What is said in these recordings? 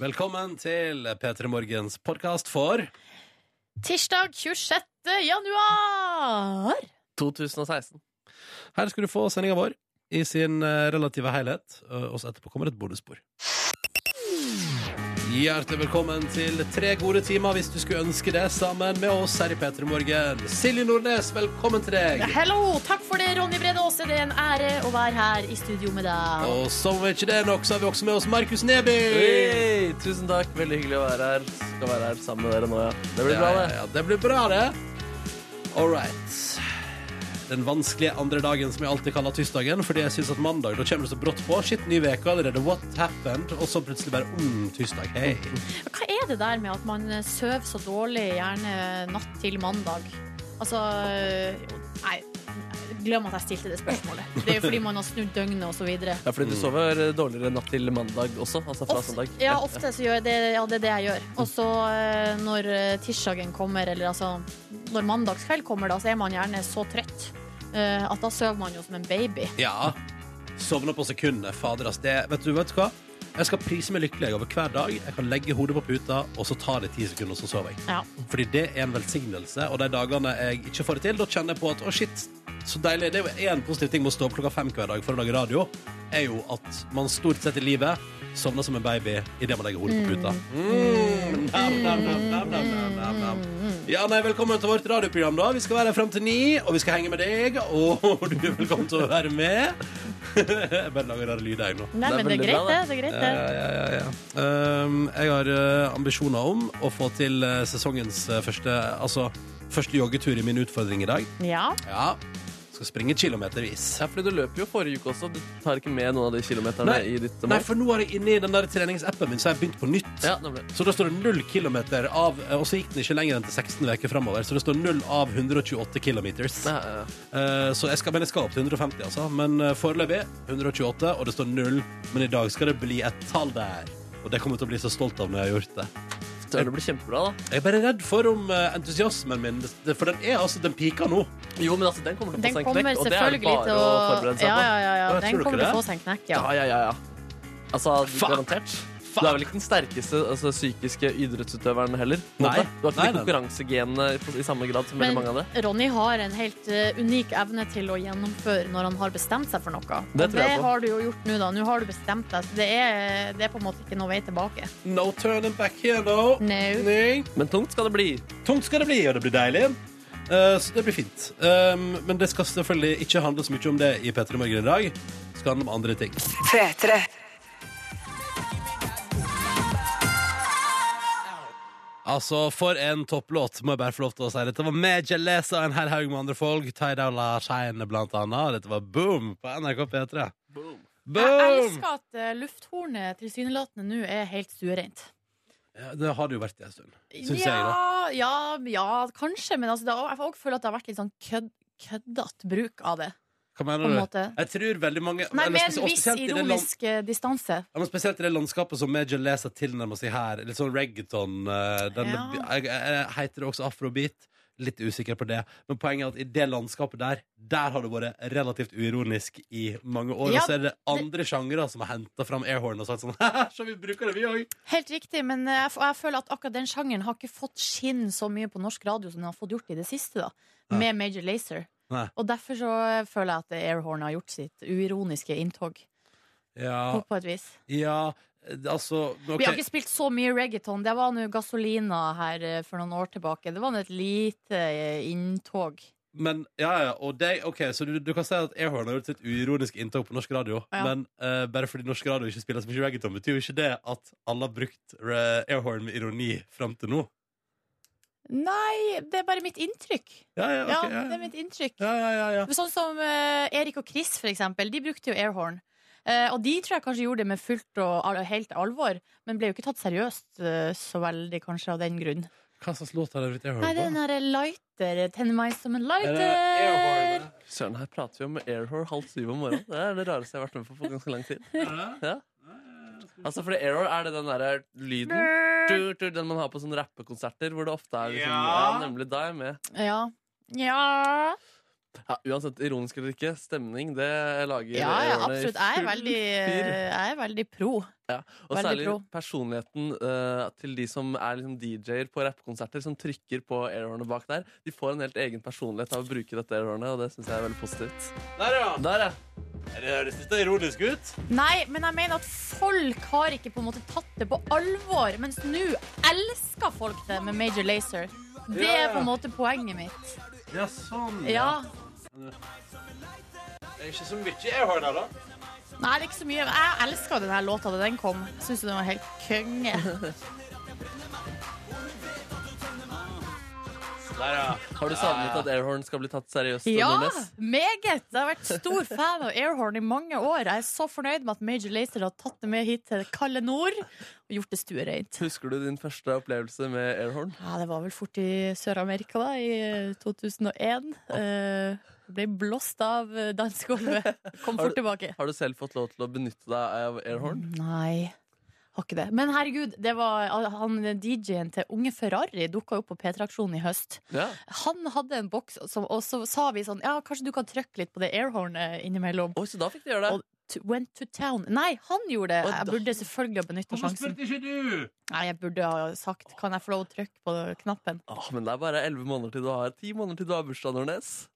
Velkommen til P3 Morgens podkast for Tirsdag 26. januar! 2016. Her skal du få sendinga vår i sin eh, relative helhet, eh, og så etterpå kommer et bonusspor. Hjertelig velkommen til tre gode timer hvis du skulle ønske det, sammen med oss her i P3 Morgen. Silje Nordnes, velkommen til deg! Hello! Takk for det, Ronny Brede Aase. Det er en ære å være her i studio med deg. Og som om ikke det er nok, så har vi også med oss Markus Neby! Hey, tusen takk. Veldig hyggelig å være her. Skal være her sammen med dere nå, ja. Det blir bra, Ja, det. ja, ja, det blir bra, det. All right. Den vanskelige andre dagen som jeg alltid kaller tirsdagen, fordi jeg syns at mandag da kommer det så brått på. Shit, ny uke allerede. What happened? Og så plutselig bare om tirsdag. Hei. Hva er det der med at man sover så dårlig gjerne natt til mandag? Altså Nei, glem at jeg stilte det spørsmålet. Det er jo fordi man har snudd døgnet og så videre. Ja, fordi du Mm. sover dårligere natt til mandag også, altså fra Ofte, søndag. ja, ofte så gjør jeg det, ja, det er det jeg gjør. Og så eh, når eh, tirsdagen kommer, eller altså når mandagskveld kommer, da, så er man gjerne så trøtt eh, at da sover man jo som en baby. Ja. Sovna på sekundet. Fader, ass. Det Vet du, vet du hva? Jeg skal prise meg lykkelig over hver dag. Jeg kan legge hodet på puta, og så tar det ti sekunder, og så sover jeg. Ja. Fordi det er en velsignelse, og de dagene jeg ikke får det til, da kjenner jeg på at å, shit, så deilig. Det er jo én positiv ting med å stå opp klokka fem hver dag for å lage radio, er jo at man stort sett i livet sovner som en baby idet man legger hodet på puta. Mm. Nam, nam, nam, nam, nam, nam, nam, nam. Ja, nei, velkommen til vårt radioprogram, da. Vi skal være her fram til ni, og vi skal henge med deg, og du er velkommen til å være med. Jeg bare lager rare lyder, jeg nå. Nei, Det er men det er veldig greit, det. bra, det, er greit, Ja, det. ja, ja, ja. Ehm, jeg har eh, ambisjoner om å få til eh, sesongens eh, første Altså første joggetur i min utfordring i dag. Ja. Ja. Skal springe kilometervis. Ja, fordi du løper jo forrige uke også. Du tar ikke med noen av de kilometerne Nei, i ditt Nei, mål. for nå har jeg inni den der treningsappen min, så har jeg begynt på nytt. Ja, nemlig. Så da står det null kilometer av eh, Og så gikk den ikke lenger enn til 16 uker framover, så det står null av 128 kilometers. Ja, ja, ja. Eh, så jeg skal, men jeg skal opp til 150, altså. Men eh, foreløpig 128, og det står null. Men i dag skal det bli et tall der. Og det kommer jeg til å bli så stolt av når jeg har gjort det. Det blir kjempebra, da. Jeg er bare redd for om eh, entusiasmen min det- For den er altså, den piker nå. Jo, men altså, den kommer til å Den få seg en kommer knekk, og det er det selvfølgelig bare til å å forberede seg Ja, på. ja, ja. ja. Ja, tror Den dere kommer til det? å få seg en knekk, ja. Ja, ja, ja, ja. Altså, Fuck. garantert. Du er vel ikke den sterkeste altså, psykiske idrettsutøveren heller? på en Nei. måte. Du har Nei, ikke de nei, nei. konkurransegenene i- i samme grad som veldig mange av det? Ronny har en helt eh, unik evne til å gjennomføre når han har bestemt seg for noe. Det Og tror jeg på. har du jo gjort nå, da. Nå har du bestemt deg. Så det er, det er på en måte ikke noe vei tilbake. No turning back here now. No. Nei. Men tungt skal det bli. Tungt skal det bli, og det blir deilig. Eh, så det blir fint. Um, men det skal selvfølgelig ikke handle så mye om det i P3 Morgen i dag. Det skal handle om andre ting. P3. Altså, for en topplåt, må jeg bare få lov til å si. Dette var Major Lazer og en hel haug med andre folk. Tidal Shine, blant annet. Dette var Boom på NRK P3. Jeg Boom! elsker at eh, lufthornet tilsynelatende nå er helt stuereint. Ja, det har det jo vært i en stund. Syns jeg, da. Ja, ja, ja, kanskje, men altså, det, har- jeg får også føle at det har vært litt sånn kødd, køddete bruk av det. Hva På en Mm. mener du? måte. Jeg tror veldig mange Nei, eller med spesielt- en viss spesielt i det land- ironisk eh, distanse. Ja, men Spesielt i det landskapet som Major Lazer tilnærmer seg her. Litt sånn reggaeton. eh, Den, Ja. jeg, jeg, jeg heter det også afrobeat. Litt usikker på det. Men poenget er at i det landskapet der Der har det vært relativt uironisk i mange år. Ja, og så er det andre sjangere som har henta fram airhorn og sagt sånn Haha, så vi bruker det, vi òg! Helt riktig, men eh, jeg, f- jeg føler at akkurat den sjangeren har ikke fått skinn så mye på norsk radio som den har fått gjort i det siste, da. Nei. Med Major Lazer. Nei. Og derfor så eh, føler jeg at Airhorn har gjort sitt uironiske inntog, Ja, på et vis. ja eh, altså ok. Vi har ikke spilt så mye reggaeton. Det var nå Gasolina her eh, for noen år tilbake. Det var nå et lite eh, inntog. Men ja, ja, og det, ok, så du, du kan si at Airhorn har gjort sitt uironisk inntog på norsk radio. Ja. Men eh, bare fordi norsk radio ikke spiller så mye reggaeton, betyr jo ikke det at alle har brukt re- Airhorn med ironi fram til nå. Nei, det er bare mitt inntrykk. Ja, ja, ok, Ja, ja, det er mitt inntrykk. ja, ja, ja, ja. Sånn som eh, Erik og Chris, for eksempel. De brukte jo airhorn. Eh, og de tror jeg kanskje gjorde det med fullt og al helt alvor, men ble jo ikke tatt seriøst eh, så veldig, kanskje, av den grunn. Hva slags låt har de brukt Airhorn Nei, det er den på? derre lighter. Tenn meg som en Er det Airhorn, lighter. det? Søren, her prater vi om airhore halv syv om morgenen. Det er det rareste jeg har vært med på på ganske lang tid. Ja. Altså, fordi airhore er det den derre lyden tur, tur, Den man har på sånne rappekonserter hvor det ofte er liksom, ja. Ja. nemlig da er jeg med. Ja. ja. Ja, uansett, ironisk eller ikke, stemning det lager Ja, ja, ørene i absolutt. Jeg er full veldig, fyr. jeg er veldig pro. Og veldig særlig pro. personligheten eh, til de som er liksom DJ-er på rappkonserter, som trykker på airhornet bak der. De får en helt egen personlighet av å bruke dette airhornet, og det syns jeg er veldig positivt. Der, ja. Der, ja. Det høres litt ironisk ut. Nei, men jeg mener at folk har ikke på en måte tatt det på alvor. Mens nå elsker folk det med Major Lazer. Det Ja, ja. er på en måte poenget mitt. Ja, sånn. Ja. Det er ikke så mye jeg har der, da. Nei, det er ikke så mye. Jeg elska den her låta da den kom. Syns den var helt konge. Der, ja. Har du savnet at airhorn skal bli tatt seriøst? Ja, Nordnes? meget! Jeg har vært stor fan av Airhorn i mange år. Jeg er så fornøyd med at Major Lazer har tatt det med hit til kalde nord og gjort det stuereint. Husker du din første opplevelse med airhorn? Ja, det var vel fort i Sør-Amerika, da, i eh, 2001. Eh, ble blåst av eh, dansegulvet. Kom Har fort du- tilbake. Har du selv fått lov til å benytte deg av airhorn? Nei. Har ikke det. Men herregud, det var han DJ-en til Unge Ferrari dukka opp på P3-aksjonen i høst. Ja. Han hadde en boks, og så- og så sa vi sånn Ja, kanskje du kan trykke litt på det airhornet innimellom. Oi, så da fikk de gjøre det. Og- To- Went to town. Nei, han gjorde det. Og Jeg da- burde selvfølgelig ha benytta sjansen. ikke du? Nei, jeg burde ha sagt Kan jeg få lov å trykke på knappen? Åh, men det er bare elleve måneder til du har ti måneder til du har bursdag, Nordnes.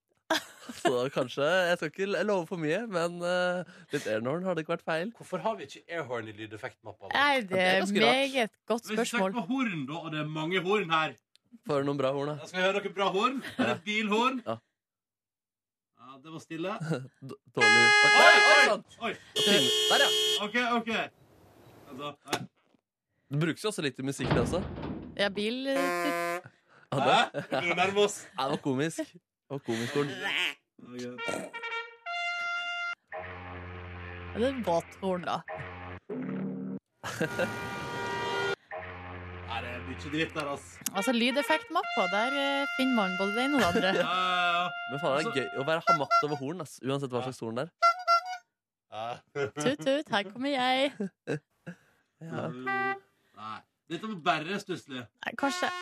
Så kanskje Jeg skal ikke love for mye, men eh, litt airhorn har det ikke vært feil. Hvorfor har vi ikke airhorn i lydeffektmappa? vår? Nei, det er Ja, det er ganske rart. meget godt Hvis du spørsmål. tenker på horn, da, og det er mange horn her Får noen bra horn, da. Jeg skal høre noen bra horn. Her er et bilhorn. Ja. Ja, det var stille. D dårlig Oi, Oi, oi, oi, sant. oi. Der, ja. OK, OK. Altså, nei. Det brukes jo også litt i musikk, det også. Ja, bil Det Ja, Hæ? det- Begynner å nærme oss. Ja, det var komisk. Det var komisk horn. Ok. er båthorn, da. Nei, det er mye dritt der, ass. Altså, lydeffektmappa, der eh, finner man både det ene og det andre. Ja, ja, Men faen, det er gøy å være hamatt over horn, ass. Uansett hva slags horn det er. ja. Tut, tut, her kommer jeg. Ja. Nei. Dette var bare stusslig. Nei, Kanskje Ja,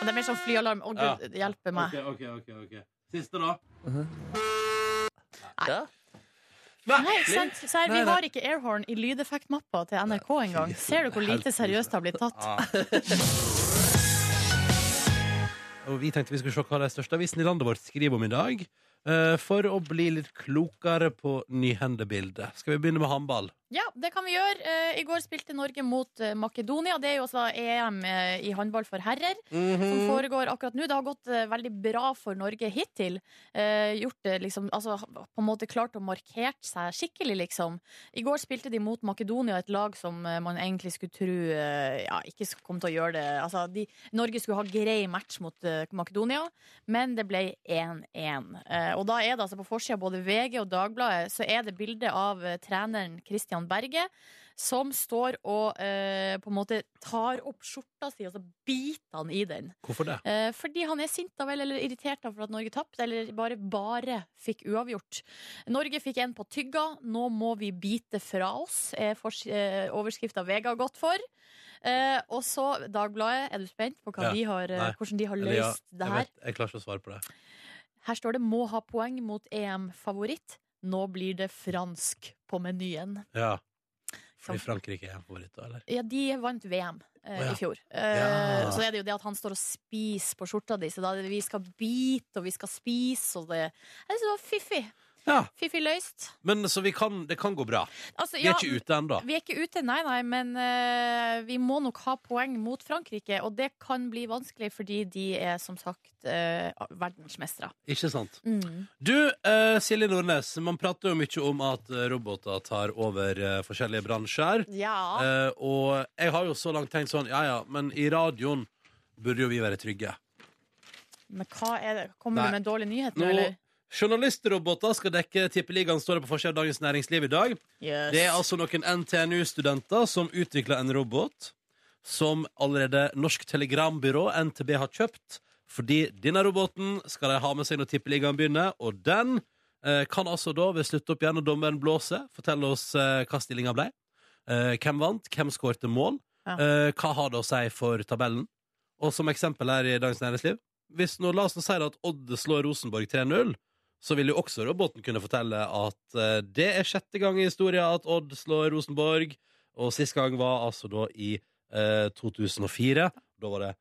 Det er mer sånn flyalarm. Å, Ja. gud, det hjelper meg. OK, OK, OK. ok Siste, da. Ja. Nei, ikke sant? Så her, vi Nei, nei. har ikke airhorn i lydeffektmappa til NRK engang. Ser du hvor lite seriøst det har blitt tatt? Ah. Og vi tenkte vi skulle se hva de største avisene i landet vårt skriver om i dag. eh, For å bli litt klokere på nyhendebildet. Skal vi begynne med håndball? Ja, det kan vi gjøre. Eh, I går spilte Norge mot eh, Makedonia. Det er jo også EM eh, i håndball for herrer som foregår akkurat nå. Det har gått eh, veldig bra for Norge hittil. Eh, gjort det liksom Altså på en måte klart å markert seg skikkelig, liksom. I går spilte de mot Makedonia, et lag som eh, man egentlig skulle tro eh, ja, ikke sk- kom til å gjøre det Altså, de, Norge skulle ha grei match mot eh, Makedonia, men det ble 1-1. Eh, og da er det altså på forsida av både VG og Dagbladet så er det bilde av eh, treneren Christian Berge som står og eh, på en måte tar opp skjorta si, og så biter han i den. Hvorfor det? Eh, fordi han er sint da vel, eller irritert da for at Norge tapte, eller bare bare fikk uavgjort. Norge fikk en på tygga, nå må vi bite fra oss, er fors- eh, overskrifta Vega har gått for. Eh, og så Dagbladet, er du spent på hva Ja. de har, eh, Nei. hvordan de har Eller ja, løst det Jeg, her? vet, jeg klarer ikke å svare på det. Her står det 'må ha poeng mot EM-favoritt'. Nå blir det fransk på menyen. Ja. Fordi Sant. Frankrike er favoritt, da, eller? Ja, de vant VM eh, Å, ja. i fjor. Eh, Ja. Så er det jo det at han står og spiser på skjorta di. Så da er det vi skal bite, og vi skal spise, og det Jeg syns det var fiffig. Ja, Fiffig løst. Men så vi kan, det kan gå bra. Altså, Vi er ikke ute ennå. Vi er ikke ute, nei, nei, men eh, vi må nok ha poeng mot Frankrike. Og det kan bli vanskelig, fordi de er som sagt uh, verdensmestere. Ikke sant? Mm. Du, eh, Silje Nordnes, man prater jo mye om at eh, roboter tar over eh, forskjellige bransjer. Ja. Eh, og jeg har jo så langt tenkt sånn, ja ja, men i radioen burde jo vi være trygge. Men hva er det? Kommer Nei. du med en dårlig nyhet nå, Nå, eller? journalistroboter skal dekke Tippeligaen, står det på forsiden av Dagens Næringsliv i dag. Yes. Det er altså noen NTNU-studenter som utvikla en robot som allerede Norsk Telegrambyrå, NTB, har kjøpt. Fordi denne roboten skal de ha med seg når tippeligaen begynner, og den eh, kan altså da ved slutt-opp igjen når dommeren blåser, fortelle oss eh, hva stillinga ble. Eh, hvem vant, hvem skårte mål, Ja. eh, hva har det å si for tabellen? Og som eksempel her i Dagens Næringsliv hvis nå la oss nå si at Odd slår Rosenborg 3-0, så vil jo også roboten kunne fortelle at eh, det er sjette gang i historien at Odd slår Rosenborg, og sist gang var altså da i eh, 2004. Da var det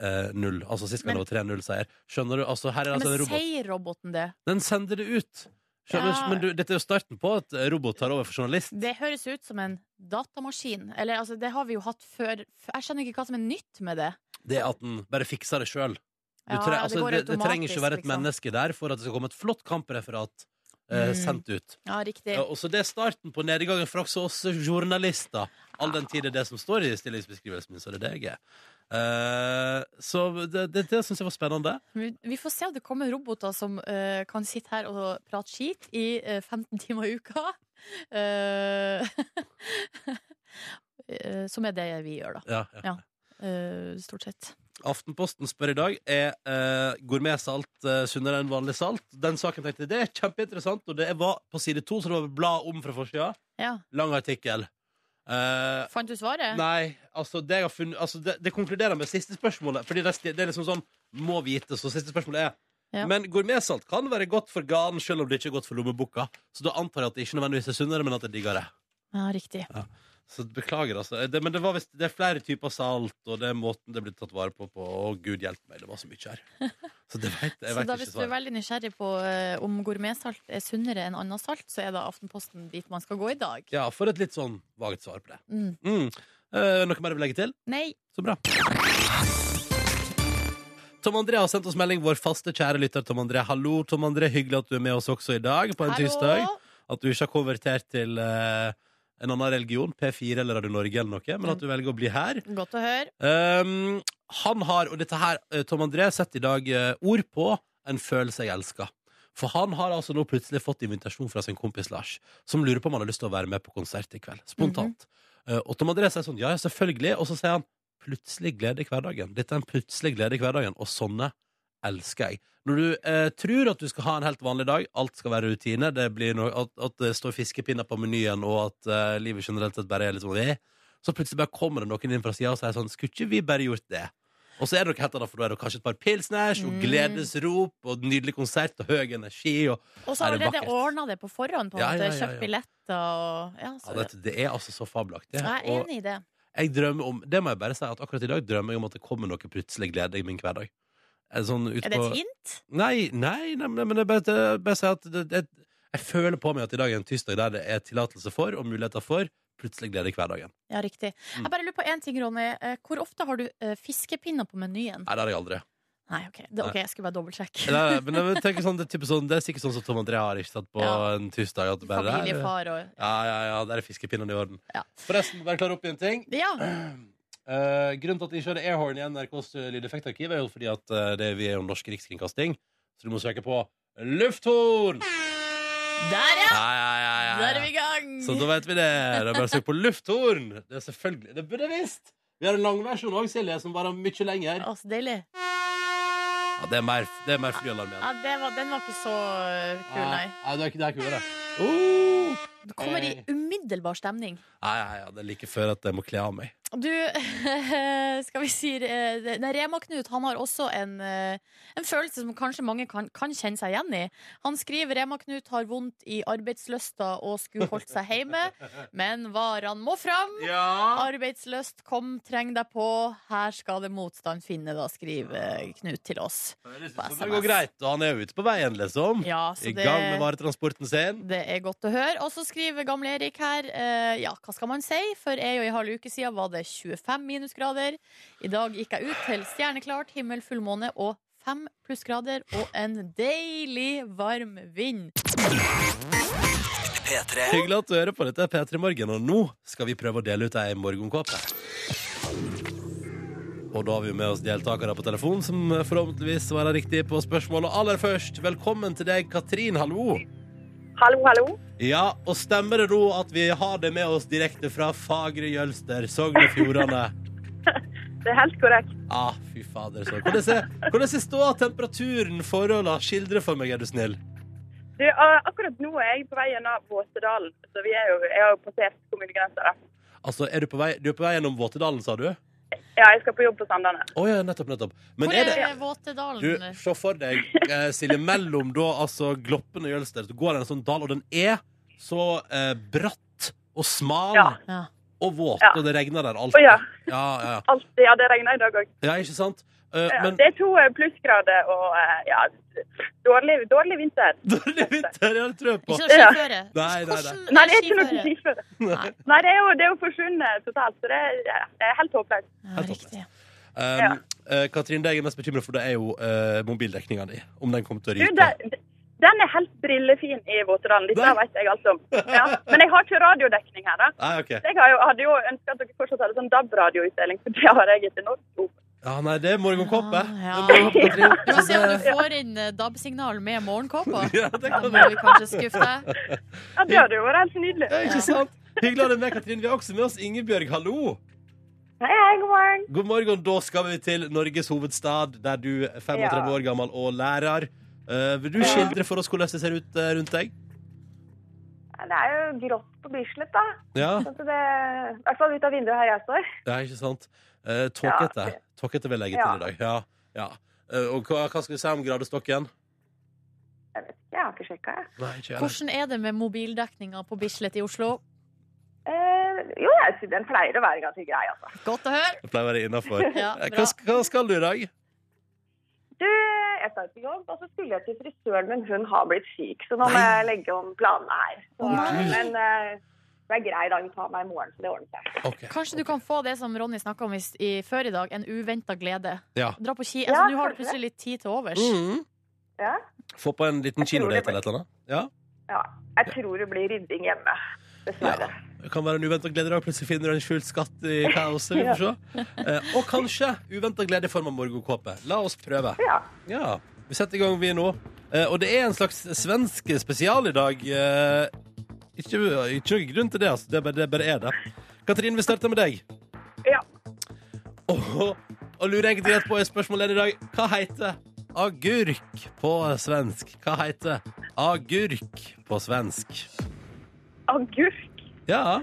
3-0. Altså sist gang Men- det var 3-0-seier. Skjønner du? Altså, her er altså Men en robot. sier roboten det? Den sender det ut. Skjønner Ja. du? Men du, dette er jo starten på at robot tar over for journalist. Det høres ut som en datamaskin. Eller altså, det har vi jo hatt før. F- Jeg skjønner ikke hva som er nytt med det. Det at den bare fikser det sjøl. Du Ja, tre- det altså, går det, det trenger ikke automatisk, å være et liksom. menneske der for at det skal komme et flott kampreferat eh, Mm. sendt ut. Ja, riktig. Ja, og så det er starten på nedgangen for også oss journalister. All den tid det er det som står i stillingsbeskrivelsen min, så er det det jeg er. Eh, så det, det, det syns jeg var spennende. Vi vi får se om det kommer roboter som eh, kan sitte her og prate skit i eh, 15 timer i uka. Eh, eh, som er det vi gjør, da. Ja, ja. Ja. Eh, stort sett. Aftenposten spør i dag er uh, gourmetsalt eh, sunnere enn vanlig salt. Den saken tenkte jeg, det er kjempeinteressant, og det var på side to, så det var bla om fra forsida. Ja. Lang artikkel. Eh, Fant du svaret? Nei, altså det jeg har funnet altså det, det konkluderer med siste spørsmålet. Fordi det, det er liksom sånn må vite, så siste spørsmålet er Ja. Men gourmetsalt kan være godt for ganen selv om det ikke er godt for lommeboka. Så da antar jeg at det ikke nødvendigvis er sunnere, men at det er diggere. Ja, riktig. Så beklager, altså. Det, men det, var visst- det er flere typer salt, og det er måten det blir tatt vare på på Å, gud hjelpe meg, det var så mye her. Så det vet, jeg Så vet da, ikke hvis du er svaret. veldig nysgjerrig på eh, om gourmetsalt er sunnere enn annet salt, så er da Aftenposten dit man skal gå i dag. Ja, for et litt sånn vagt svar på det. Mm. Mm. Eh, noe mer du vil legge til? Nei. Så bra. Tom André har sendt oss melding, vår faste kjære lytter Tom André. Hallo, Tom André. Hyggelig at du er med oss også i dag, på en Hallo? tirsdag. At du ikke har konvertert til eh, en annen religion, P4 eller Radio Norge eller noe, men at du velger å bli her. Godt å høre. Um, han har, og dette her, eh, Tom André, setter i dag eh, ord på en følelse jeg elsker. For han har altså nå plutselig fått invitasjon fra sin kompis Lars, som lurer på om han har lyst til å være med på konsert i kveld. Spontant. Mhm. Eh, og Tom André sier sånn, ja, ja, selvfølgelig. Og så sier han plutselig glede i hverdagen. Dette er en plutselig glede i hverdagen, og sånne elsker jeg. Når du eh, tror at du skal ha en helt vanlig dag, alt skal være rutine, det blir noe, at, at det står fiskepinner på menyen, og at eh, livet generelt sett bare er litt sånn eh, så plutselig bare kommer det noen inn fra sida og sier sånn Skulle ikke vi bare gjort det? Og så er det noe helt annet, for da er det kanskje et par pilsners og Mm. gledesrop og nydelig konsert og høy energi og Og så Er det allerede vakkert? ordna det på forhånd, på en Ja, måte. ja, ja, ja. Kjøpt billetter og ja, ja, så, det, det er altså så fabelaktig. Jeg er Og- enig i det. jeg drømmer om Det må jeg bare si at akkurat i dag drømmer jeg om at det kommer noe plutselig glede i min hverdag. En Sånn ut Er det på- et hint? Nei, nei, nei, nei men det er bare, det er bare å si at det, det, jeg føler på meg at i dag er en tirsdag der det er tillatelse for og muligheter for plutselig glede i hverdagen. Ja, riktig. Mm. Jeg bare lurer på én ting, Ronny. Eh, Hvor ofte har du eh, fiskepinner på menyen? Nei, det har jeg aldri. Nei, OK, det, ok, jeg skulle bare dobbeltsjekke. Nei, nei, men jeg tenker sånn, det, er typisk sånn, det er sikkert sånn som Tom André har ikke sant, på Ja. en tirsdag. At det bare, der- Familiefar og ja, ja, ja, der er fiskepinnene i orden. Ja. Forresten, må bare klare opp i en ting. Ja! Eh, grunnen til at de kjører airhorn i NRKs eh, lydeffektarkiv, er jo fordi at eh, det, vi er jo norsk rikskringkasting, så du må søke på lufthorn! Der, ja! Ja, ja, ja, ja, ja. Der er vi i gang! Så da vet vi det. Det er bare å søke på lufthorn. Det er selvfølgelig Det burde jeg visst! Vi har en lang versjon òg, Silje, som varer mye lenger. Å, så deilig. Ja, det er mer, det er mer flyalarm Ja, igjen. det var, den var ikke så eh, Ah, kul, nei. Nei, det er ikke det er kulere. Oh! Du kommer i umiddelbar stemning. Nei, ja, ja, det er like før at jeg må kle av meg. Du, skal vi si eh, det- Nei, Rema-Knut han har også en, eh, en følelse som kanskje mange kan, kan kjenne seg igjen i. Han skriver Rema-Knut har vondt i arbeidsløsta og skulle holdt seg hjemme, men varene må fram. Ja. Arbeidsløst, kom, treng deg på. Her skal det motstand finne, da, skriver Knut til oss. Det på går SMS. greit. Og han er jo ute på veien, liksom. Ja, så I gang med det, varetransporten sin. det er godt å høre. Og så skriver gamle Erik her, eh, ja, hva skal man si? For ei og ei halv uke siden var det 25 minusgrader. I dag gikk jeg ut til stjerneklart, himmel, fullmåne og fem plussgrader og en deilig varm vind. Hyggelig at du hører på dette, P3 Morgen. Og nå skal vi prøve å dele ut ei morgenkåpe. Og da har vi jo med oss deltakere på telefon som forhåpentligvis svarer riktig på spørsmålet. Og Aller først, velkommen til deg, Katrin. Hallo. Hallo, hallo. Ja, og stemmer det nå at vi har det med oss direkte fra Fagre Jølster, Sogn og Fjordane? Det er helt korrekt. Ah, fy fader. Så. Hvordan er- Hvordan er ståa, temperaturen, forholda? Skildre for meg, er du snill. Du, eh, akkurat nå er jeg på vei gjennom Våsedalen, så vi er jo, jeg har jo passert kommunegrensa. da. Altså, er du på vei, du er på vei gjennom Våtedalen, sa du? Ja, jeg skal på jobb på Sandane. Å ja, nettopp, nettopp. Men Hvor er er, det du, Sånn, Våtedalen? Se for deg, eh, Silje, mellom da altså Gloppen og Jølster så går det en sånn dal, og den er så eh, bratt og smal Ja. Ja. og våt, Ja. og det regner der Å alltid. ja. Ja, ja, ja. Alltid. Ja, det regner i dag òg. ja, ikke sant? Eh, Ja, men det er to eh, plussgrader og eh, ja, dårlig, dårlig vinter. dårlig vinter, ja, det tror jeg på. Ikke noe skiføre? Nei, nei, nei. Hvordan Nei, det er ikke noe skiføre? skiføre. Nei. Nei, det er jo, det er jo forsvunnet totalt, så det er, ja, det er helt håpløst. Ja, Helt riktig. Um, Ja. eh, Katrin, det jeg er mest bekymret for, det er jo uh, mobildekninga di. Om den kommer til å Du, ryke. det- den er helt brillefin i Våtedalen. Dette Nei. vet jeg alt om. Ja. Men jeg har ikke radiodekning her, da. Nei, ok. Jeg har jo, hadde jo ønska at dere fortsatt hadde sånn DAB-radioutdeling, for det har jeg et enormt behov for. Ja, nei, det er morgenkåpe. Ah, Ja, Det er ja. morgenkåpe, Katrin. Du må se om du Så det- får inn eh, DAB-signal med morgenkåpa. Ja, det Da kan må du. vi kanskje skuffe deg. Ja, det hadde jo vært helt nydelig. Ja, ikke sant? Hyggelig å ha deg med, Katrin. Vi har også med oss Ingebjørg. Hallo! Hei, hei, god morgen. God morgen. Da skal vi til Norges hovedstad, der du er 35 Ja. år gammel og lærer. Eh, vil du Ja. skildre for oss hvordan det ser ut eh, rundt deg? Ja, Det er jo grått på Bislett, da. Ja, Sånn at det, I hvert fall ut av vinduet her jeg står. det er ikke sant? Uh, Tåkete. Ja. Tåkete vil jeg legge Ja. til i dag. Ja. ja. Eh, og hva, hva skal vi si om gradestokken? Jeg vet ikke, jeg har ikke sjekka, jeg. Nei, ikke jeg. Hvordan er det med mobildekninga på Bislett i Oslo? Eh, jo, jeg, synes den pleier å være ganske grei, altså. Godt å høre. Det pleier å være innafor. Eh, Ja, Hva, bra. sk- hva skal du i dag? Du, jeg skal på jobb, og så skulle jeg til frisøren, men hun har blitt syk, så nå må jeg legge om planene her. Så, Gud. men eh, det er grei dag å ta meg i morgen, så det ordner seg. Ok. Kanskje du kan få det som Ronny snakka om i, s- i, før i dag, en uventa glede. Ja. Dra på ski. Ja, Altså, nå har kanskje du plutselig litt tid til overs. Mhm. Ja? Få på en liten Jeg tror det kinodate eller et eller annet. Ja. ja. Jeg tror det blir rydding hjemme, dessverre. Det kan være en uventa glede. da. Plutselig finner du en skjult skatt i kaoset. Vi får se. Eh, og kanskje uventa glede i form av morgenkåpe. La oss prøve. Ja. Ja. Vi setter i gang, vi nå. Eh, og det er en slags svensk spesial i dag. Eh, ikke, ikke noen grunn til det, altså. Det bare, det bare er det. Katrin, vi starter med deg. Ja. Og, og lurer egentlig rett på et spørsmål i dag. Hva heter agurk på svensk? Hva heter agurk på svensk? Agurk. Ja.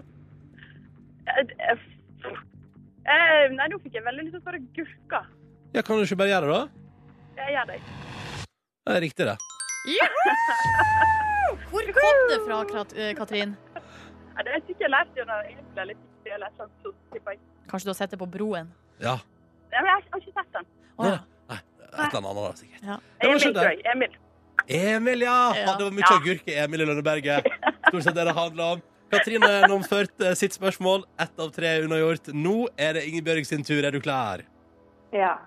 Eh, eh, eh, nei, nå fikk jeg veldig lyst til å svare gurka. ja, kan du ikke bare gjøre det, da? Jeg gjør det. Det er riktig, det. Juhu! Hvor kom det fra, Krat- eh, Katrin? Ja, det er sikkert jeg lærte jo når jeg ble litt syk, eller sånn, så tipper jeg. Kanskje du har sett det på Broen? Ja. Ja, men jeg har ikke sett den. Å, ja. Nei, et eller annet annet, sikkert. Ja. Ja, men Emil, skjønner tror jeg. Emil. Emil, ja! Ja. Det var mye Ja. agurk i Emil i Lønneberget. Stort sett det det handla om. Katrine har gjennomført eh, sitt spørsmål. Ett av tre er unnagjort. Nå er det Ingebjørg sin tur. Er du klar? Ja.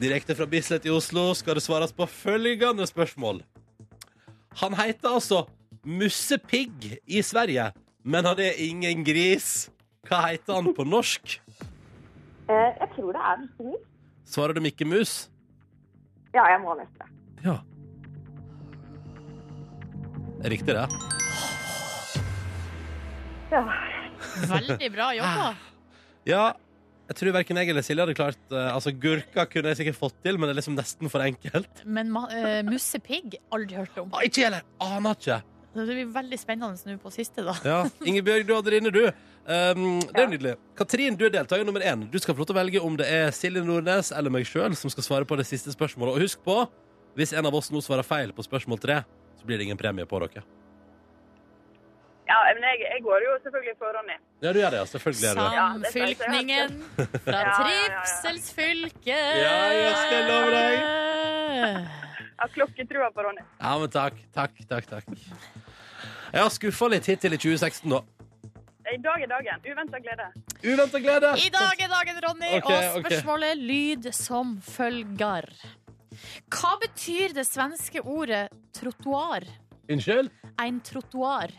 Direkte fra Bislett i Oslo skal det svares på følgende spørsmål. Han heter altså Mussepigg i Sverige, men han er ingen gris. Hva heter han på norsk? Eh, jeg tror det er Mikke Svarer du Mikke Mus? Ja, jeg må nesten det. Ja. Riktig, det. Ja. Veldig Ah. bra jobba. Ja, jeg tror verken jeg eller Silje hadde klart eh, Altså, Gurka kunne jeg sikkert fått til, men det er liksom nesten for enkelt. Men ma- eh, mussepigg aldri hørt om. Ah, ikke jeg heller! Aner ikke. Det blir veldig spennende nå på siste, da. Ja. Ingebjørg, du hadde det inne, du. Um, det er Ja. nydelig. Katrin, du er deltaker nummer én. Du skal få lov til å velge om det er Silje Nordnes eller meg sjøl som skal svare på det siste spørsmålet. Og husk på, hvis en av oss nå svarer feil på spørsmål tre, så blir det ingen premie på dere. Ja, men jeg, jeg går jo selvfølgelig for Ronny. Ja, du gjør det, ja. Selvfølgelig gjør du Sånn. det. Ja, det skal jeg Samfylkningen fra Ja, ja, ja, ja. Tripsels fylke. Ja, jeg skal love Jeg har klokketrua på Ronny. Ja, men takk. Takk, takk, takk. Jeg har skuffa litt hittil i 2016, da. I dag er dagen. Uventa glede. Uventa glede! I dag er dagen, Ronny, Ok, og ok. spørsmålet lyd som følger. Hva betyr det svenske ordet trottoar? Unnskyld? En trottoar.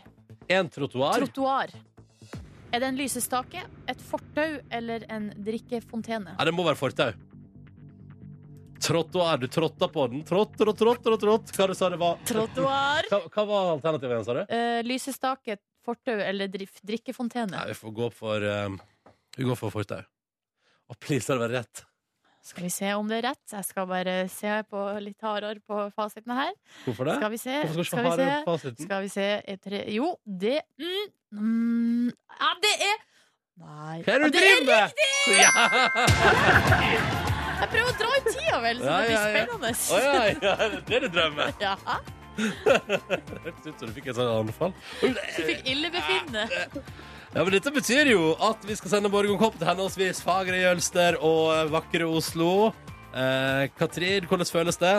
En trottoar. Trottoar. Er det en lysestake, et fortau eller en drikkefontene? Ja, det må være fortau. Trått og er du tråtta på den? Trått og trått og trått. Hva du sa det var? Trottoar. Hva, hva var alternativet igjen, sa du? Eh, lysestake, fortau eller drif- drikkefontene? Nei, vi får gå for um, Vi går for fortau. Og please, la det være rett. Skal vi se om det er rett? Jeg skal bare se på litt hardere på fasitene her. Hvorfor det? Skal vi se. Hvorfor skal Skal vi ikke vi se. Hm? ha fasiten? Skal vi se et, tre. Jo, det mm, mm, Ja, det er Nei. Hva er det du Ja, det er driver med?! Ja. Jeg prøver å dra ut tida, vel, så det Ja, blir ja, ja. spennende. Å ja, ja, det er det du drømmer med. Ja. Hørtes ut som du fikk et sånt anfall. Du fikk illebefinnende. Eh, Ja, men Dette betyr jo at vi skal sende morgenkopp til henholdsvis fagre Jølster og eh, vakre Oslo. Eh, Katrin, hvordan føles det?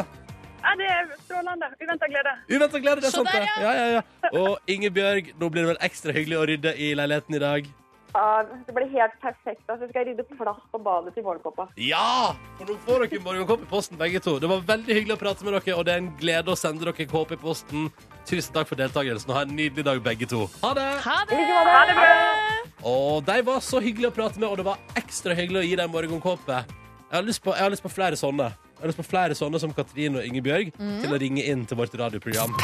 Ja, det er strålende. Uventa glede. Uventa glede, det er Se sant, der, det. sånn Ja, ja, ja. Og Ingebjørg, nå blir det vel ekstra hyggelig å rydde i leiligheten i dag. Ja, det blir helt perfekt. Altså, jeg skal rydde plass på badet til morgenkåpa. Ja! For nå får dere morgenkopp i posten, begge to. Det var veldig hyggelig å prate med dere, og det er en glede å sende dere kåp i posten. Tusen takk for deltakelsen, og ha en nydelig dag, begge to. Ha det! Ha det! like måte. Ha det Og de var så hyggelige å prate med, og det var ekstra hyggelig å gi dem morgenkåpe. Jeg har lyst på, jeg har lyst på flere sånne. Jeg har lyst på flere sånne som Katrin og Ingebjørg Mm. til å ringe inn til vårt radioprogram.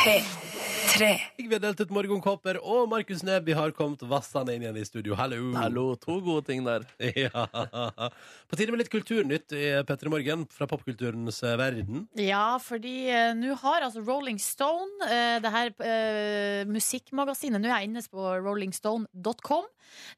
Jeg har delt ut morgenkåper, og Markus Neby har kommet vassende inn igjen i studio. Hallo! Hallo, to gode ting der. Ja. På tide med litt kulturnytt i P3 Morgen fra popkulturens eh, verden. Ja, fordi eh, nå har altså Rolling Stone, eh, det her eh, musikkmagasinet Nå er jeg inne på rollingstone.com.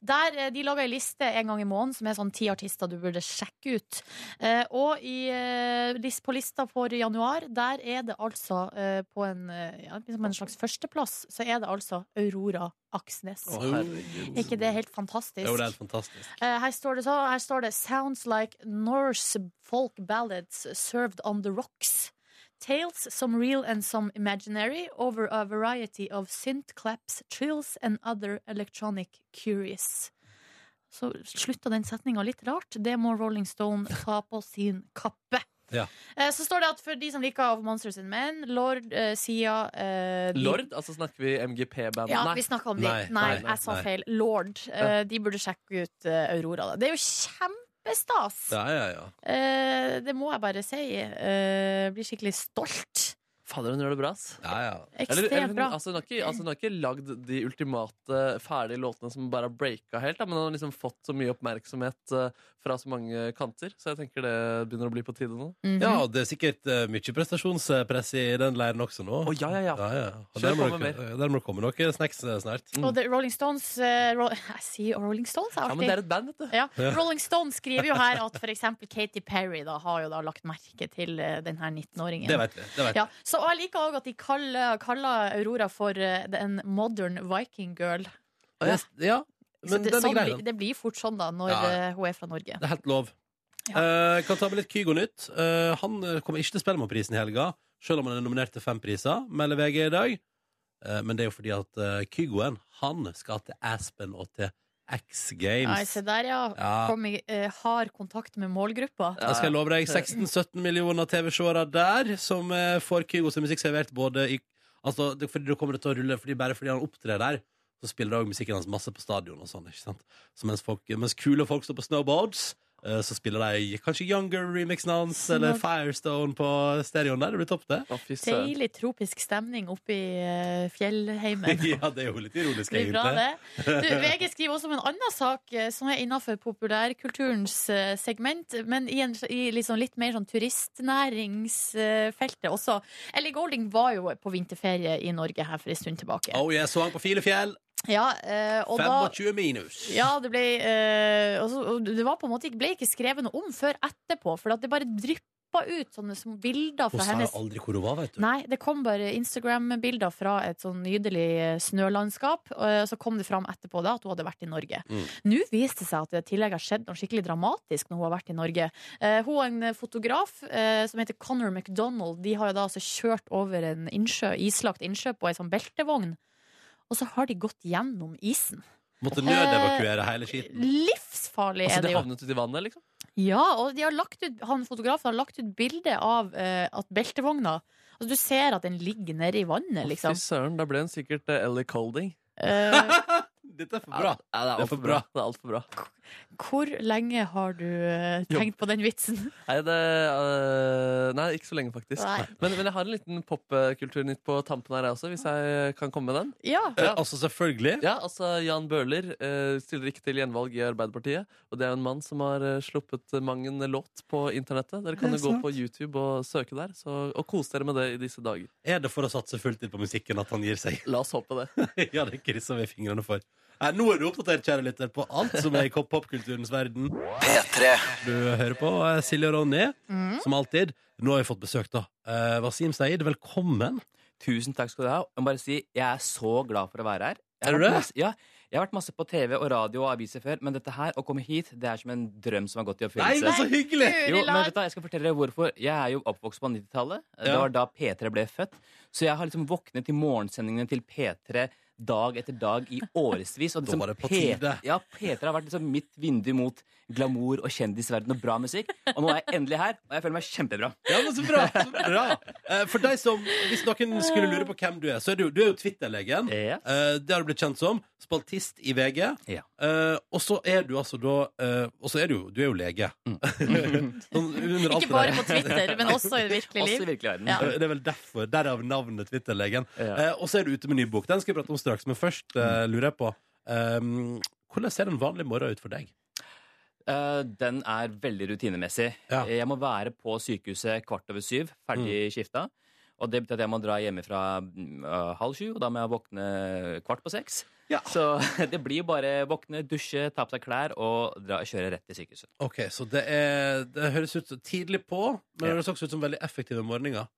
Der eh, De lager ei liste en gang i måneden som er sånn ti artister du burde sjekke ut. Eh, og i, eh, lis- på lista for januar, der er det altså eh, på en, eh, ja, liksom en slags førsteplass, så er det altså Aurora Aksnes. Å, herregud. Er ikke det helt Det er jo det er fantastisk? helt fantastisk. Eh, her, står det så, her står det 'Sounds like Norse folk ballads served on the rocks'. Tales, some real and some imaginary, over a variety of synth claps, trills and other electronic curious. Så slutta den setninga litt rart. Det må Rolling Stone ta på sin kappe. Ja. Eh, Så står det at for de som liker Of Monsters and Men, Lord, eh, Sia eh, de- Lord? Altså snakker vi MGP-bandet? ja, vi snakka om de. Nei, Nei, nei, nei, jeg sa nei. feil. Lord. Eh, de burde sjekke ut eh, Aurora. Da. Det er jo kjempestas! Ja, ja, ja. Eh, det må jeg bare si. Eh, blir skikkelig stolt. Fader, hun gjør det bra, ass. ja, ja. Eller, eller, Ekstremt hun- bra. altså, hun, har ikke, altså, hun har ikke lagd de ultimate ferdige låtene som bare har breaka helt, da, men hun har liksom fått så mye oppmerksomhet eh, fra så mange kanter, så jeg tenker det begynner å bli på tide nå. Mhm. Ja, og det er sikkert eh, mye prestasjonspress i den leiren også nå. Å, ja, ja, ja. Ja, ja. Og Kjør der må på med dere- der må det komme noe snacks eh, snart. Og det, Rolling Stones eh, Ro Jeg sier Rolling Stones, jeg Ja, er men det artig. er et band, vet du. Ja. Rolling Stone skriver jo her at f.eks. Katy Perry da, har jo da lagt merke til eh, den her 19-åringen. Det vet vi. Det vet vi. Ja, så og jeg liker òg at de kaller, kaller Aurora for eh, en modern viking girl. Og jeg- ja. Så Men det, den er sånn, grei, blir- den. det blir fort sånn da når Ja, ja. eh, hun er fra Norge. Det er helt lov. Ja. Eh, kan ta med litt Kygo-nytt. Eh, han eh, kommer ikke til Spellemannprisen i helga, selv om han er nominert til fem priser, melder VG i dag. Eh, men det er jo fordi at eh, Kygoen, han skal til Aspen og til X Nei, Games. se der, ja. Ja. Kom i eh, hard kontakt med målgruppa. Da skal jeg love deg 16-17 millioner TV-seere der, som eh, får Kygo sin musikk servert både i Altså, det, fordi det kommer til å rulle, fordi bare fordi han opptrer der, så spiller også musikken hans masse på stadion og sånn, ikke sant? Så mens, folk, mens kule folk står på snowboards, eh, så spiller de kanskje Younger-remixen hans, eller Snow- Firestone på stereoen der. Det blir topp, det. Å, fy søren. Deilig tropisk stemning oppe i eh, fjellheimen. ja, det er jo litt ironisk, Det blir bra, egentlig. det. Du, VG skriver også om en annen sak eh, som er innafor populærkulturens eh, segment, men i, en, i liksom litt mer sånn turistnæringsfeltet også. Ellie Golding var jo på vinterferie i Norge her for en stund tilbake. Oh, jeg så han på Filefjell. Ja, eh, og da 25 minus. Ja, det ble eh, altså, og Det var på en måte ikke, ble ikke skrevet noe om før etterpå, for at det bare dryppa ut sånne små bilder Hun fra sa jo hennes aldri hvor hun var, vet du. Nei, det kom bare Instagram-bilder fra et sånn nydelig eh, snølandskap. eh, Og så kom det fram etterpå da at hun hadde vært i Norge. Mm. Nå viste det seg at det i tillegg har skjedd noe skikkelig dramatisk når hun har vært i Norge. Eh, hun og en fotograf eh, som heter Connor McDonald, de har jo da altså kjørt over en innsjø, islagt innsjø på ei sånn beltevogn. Og så har de gått gjennom isen. Måtte nødevakuere hele skiten. Livsfarlig Altså, er de det jo. havnet uti vannet, liksom? Ja, og de har lagt ut, han fotografen har lagt ut bilde av eh, at beltevogna Altså, du ser at den ligger nede i vannet, Å, liksom. Fy søren, da ble hun sikkert eh, Ellie Colding. Eh, Dette er for bra. Ja, det er altfor bra. Det er alt for bra. hvor lenge har du eh, tenkt på den vitsen? Nei, det, øh, nei, ikke så lenge, faktisk. Nei. Men, men jeg har en liten popkulturnytt på tampen her jeg også, hvis jeg kan komme med den. Ja. Eh, altså, selvfølgelig. Ja, altså Jan Bøhler eh, stiller ikke til gjenvalg i Arbeiderpartiet. Og det er jo en mann som har eh, sluppet mang en låt på internettet. Dere kan Det jo er gå sant. på YouTube og søke der, så, og kose dere med det i disse dager. Er det for å satse fulltid på musikken at han gir seg? La oss håpe det. ja, det krysser vi fingrene for. Nei, nå er du oppdatert, kjære lytter, på alt som er i pop- popkulturens verden. P3 Du hører på eh, Silje og Ronny, som alltid. Nå har vi fått besøk, da. Eh, Wasim Seid, velkommen. Tusen takk skal du ha. Jeg må bare si, jeg er så glad for å være her. Jeg har Er du vært det? Masse, ja, jeg har vært masse på TV og radio og aviser før, men dette her, å komme hit, det er som en drøm som har gått i Nei, men oppfyllelse. så hyggelig! Jo, men vet du, hva, jeg skal fortelle dere hvorfor. Jeg er jo oppvokst på 90-tallet. Det Ja. var da P3 ble født. Så jeg har liksom våknet til morgensendingene til P3 dag etter dag i årevis. Og Da liksom var det på P- tide. Ja, P3 har vært liksom mitt vindu mot glamour og kjendisverden og bra musikk. Og nå er jeg endelig her, og jeg føler meg kjempebra. Ja, men så bra! Så bra. Eh, For deg som, Hvis noen skulle lure på hvem du er, så er du, du er jo Twitter-legen. Yes. Eh, Det har du blitt kjent som. Spaltist i VG. Ja. Eh, og så er du altså da eh, Og så er du jo du er jo lege. Mm. Sånn under alt Ikke det bare der. på Twitter, men også i virkelig Også i liv. virkelig verden. Eh, Det er vel derfor, Derav navnet Twitter-legen. Ja. Mm. Eh, og så er du ute med ny bok. Den skal vi prate om straks. Men først eh, lurer jeg på ehm, Hvordan ser en vanlig morgen ut for deg? Eh, den er veldig rutinemessig. Ja. Mm. Eh, Jeg må være på sykehuset kvart over syv, ferdig skifta. Og det betyr at jeg må dra hjemmefra mm, eh, halv sju, og da må jeg våkne kvart på seks. Ja. Så det blir jo bare våkne, dusje, ta på seg klær og dra, kjøre rett til sykehuset. Ok, Så det, er, det høres ut som tidlig på, men Ja. det høres også ut som veldig effektive morgener.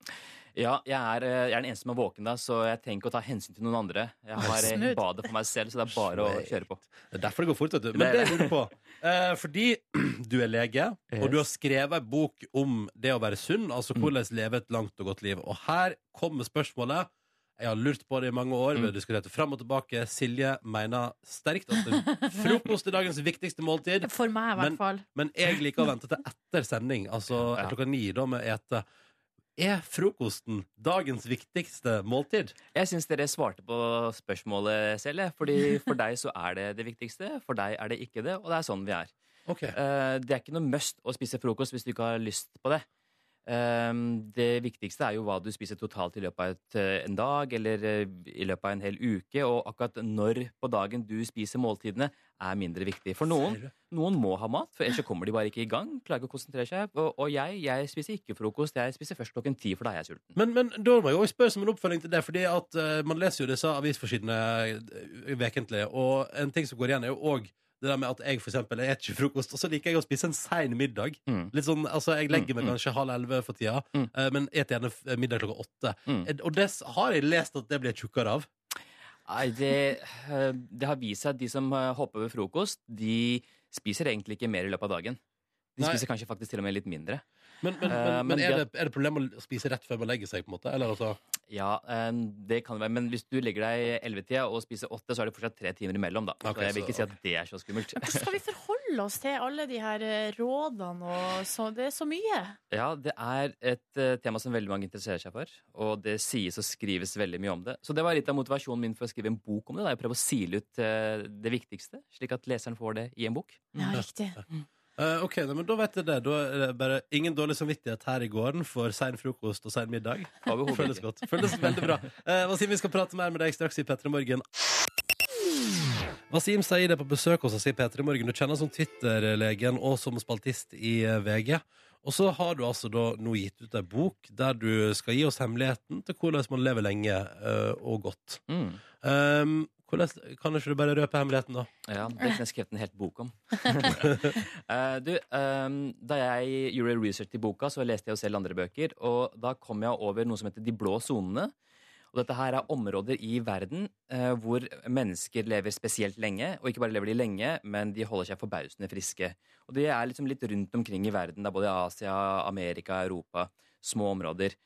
Ja, jeg er, eh, jeg er den eneste som er våken da, så jeg trenger ikke å ta hensyn til noen andre. Jeg har eh, Smooth. badet for meg selv, så det er bare å Smooth. kjøre på. Det er derfor det går fort, vet du. Det Men er det det. lurer jeg på. Eh, fordi du er lege, og Yes. Mm. du har skrevet ei bok om det å være sunn, altså hvordan leve et langt og godt liv. Og her kommer spørsmålet. Jeg har lurt på det i mange Mm. år. Vi har diskutert det fram og tilbake. Silje mener sterkt at det- frokost er dagens viktigste måltid. For meg, i Men- hvert fall. Men jeg liker å vente til etter sending, altså Ja. klokka ni, da med ete. Er frokosten dagens viktigste måltid? Jeg syns dere svarte på spørsmålet selv, jeg, fordi for deg så er det det viktigste, for deg er det ikke det, og det er sånn vi er. Ok. Eh, det er ikke noe must å spise frokost hvis du ikke har lyst på det. Eh, det viktigste er jo hva du spiser totalt i løpet av et, eh, en dag eller eh, i løpet av en hel uke. Og akkurat når på dagen du spiser måltidene, er mindre viktig. For noen, Ser du? noen må ha mat, for ellers så kommer de bare ikke i gang. Klarer ikke å konsentrere seg. Og, og jeg, jeg spiser ikke frokost. Jeg spiser først klokken ti, for da er jeg sulten. Men, men da må jeg også spørre som en oppfølging til det, fordi at eh, man leser jo disse avisforsidene eh, vekentlig, og en ting som går igjen er jo òg det der med at jeg for eksempel, jeg spiser ikke frokost, og så liker jeg å spise en sein middag. Mm. Litt sånn, altså Jeg legger meg Mm, mm. kanskje halv elleve for tida, Mm. eh, men et gjerne f- middag klokka åtte. Mm. Eh, Og det s- har jeg lest at det blir jeg tjukkere av. Nei, det, eh, det har vist seg at de som eh, hopper over frokost, de spiser egentlig ikke mer i løpet av dagen. De Nei. spiser kanskje faktisk til og med litt mindre. Men, men, men, Eh, men, men er, det- det, er det problem å spise rett før man legger seg? på en måte? Eller altså, Ja, eh, det kan det være. Men hvis du legger deg 11-tida og spiser 8, så er det fortsatt tre timer imellom. da. Ok, så jeg vil så- ikke si at det er så skummelt. Hvordan skal vi forholde oss til alle de her eh, rådene og så? Det er så mye. Ja, Det er et eh, tema som veldig mange interesserer seg for. Og det sies og skrives veldig mye om det. Så det var litt av motivasjonen min for å skrive en bok om det. da. Jeg prøver å sile ut eh, det viktigste, slik at leseren får det i en bok. Ja, riktig. Eh, ok, nei, men Da vet jeg det. Da er det bare ingen dårlig samvittighet her i gården for sein frokost og sein middag. Overhodet Føles ikke. godt. Føles veldig bra. Eh, Wasim, vi skal prate mer med deg straks i P3 Morgen. Wasim Saeed er på besøk hos oss i P3 Morgen. Du kjenner han som Twitter-legen og som spaltist i eh, VG. Og så har du altså da nå gitt ut ei bok der du skal gi oss hemmeligheten til hvordan man lever lenge eh, og godt. Mm. Um, hvordan, kan ikke du bare røpe hemmeligheten, da? Ja, det kunne jeg skrevet en helt bok om. Eh, du, ehm, da jeg gjorde research til boka, så leste jeg jo selv andre bøker, og da kom jeg over noe som heter De blå sonene. Og dette her er områder i verden eh, hvor mennesker lever spesielt lenge, og ikke bare lever de lenge, men de holder seg forbausende friske. Og det er liksom litt rundt omkring i verden, da, både i Asia, Amerika, Europa. Små områder.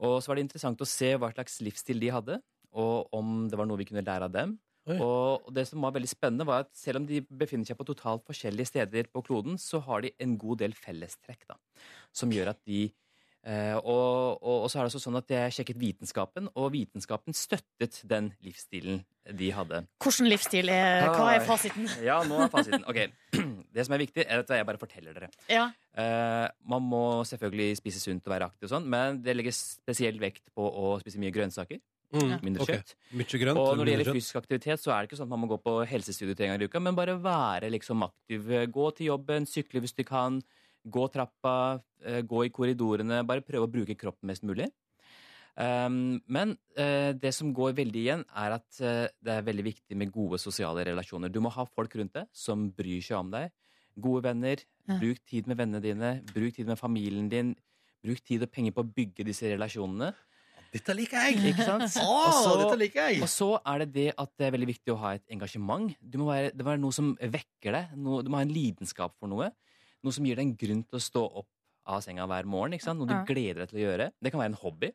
Og så var det interessant å se hva slags livsstil de hadde, og om det var noe vi kunne lære av dem. Oi. Og det som var veldig spennende, var at selv om de befinner seg på totalt forskjellige steder på kloden, så har de en god del fellestrekk, da. Som gjør at de eh, og, og, og så er det også sånn at jeg sjekket vitenskapen, og vitenskapen støttet den livsstilen de hadde. Hvordan livsstil er Hva er Oi. fasiten? Ja, nå er fasiten. Ok. Det som er viktig, er at jeg bare forteller dere. Ja. Eh, man må selvfølgelig spise sunt og være aktiv, og sånn, men det legges spesiell vekt på å spise mye grønnsaker. Mindre Ok. kjøtt. Mm, Mye grønt. Og når det mindre gjelder kjøtt. fysisk aktivitet, så er det ikke sånn at man må gå på helsestudio tre ganger i uka, men bare være liksom aktiv. Gå til jobben, sykle hvis du kan, gå trappa, eh, gå i korridorene. Bare prøve å bruke kroppen mest mulig. Um, men eh, det som går veldig igjen, er at eh, det er veldig viktig med gode sosiale relasjoner. Du må ha folk rundt deg som bryr seg om deg. Gode venner. Ja. Bruk tid med vennene dine. Bruk tid med familien din. Bruk tid og penger på å bygge disse relasjonene. Dette liker jeg! Ikke sant? Å, Og så- dette liker og jeg! så er det det at det er veldig viktig å ha et engasjement. Du må være, det må være noe som vekker deg. Noe, du må ha en lidenskap for noe. Noe som gir deg en grunn til å stå opp av senga hver morgen. Ikke sant? Noe du Ja. gleder deg til å gjøre. Det kan være en hobby.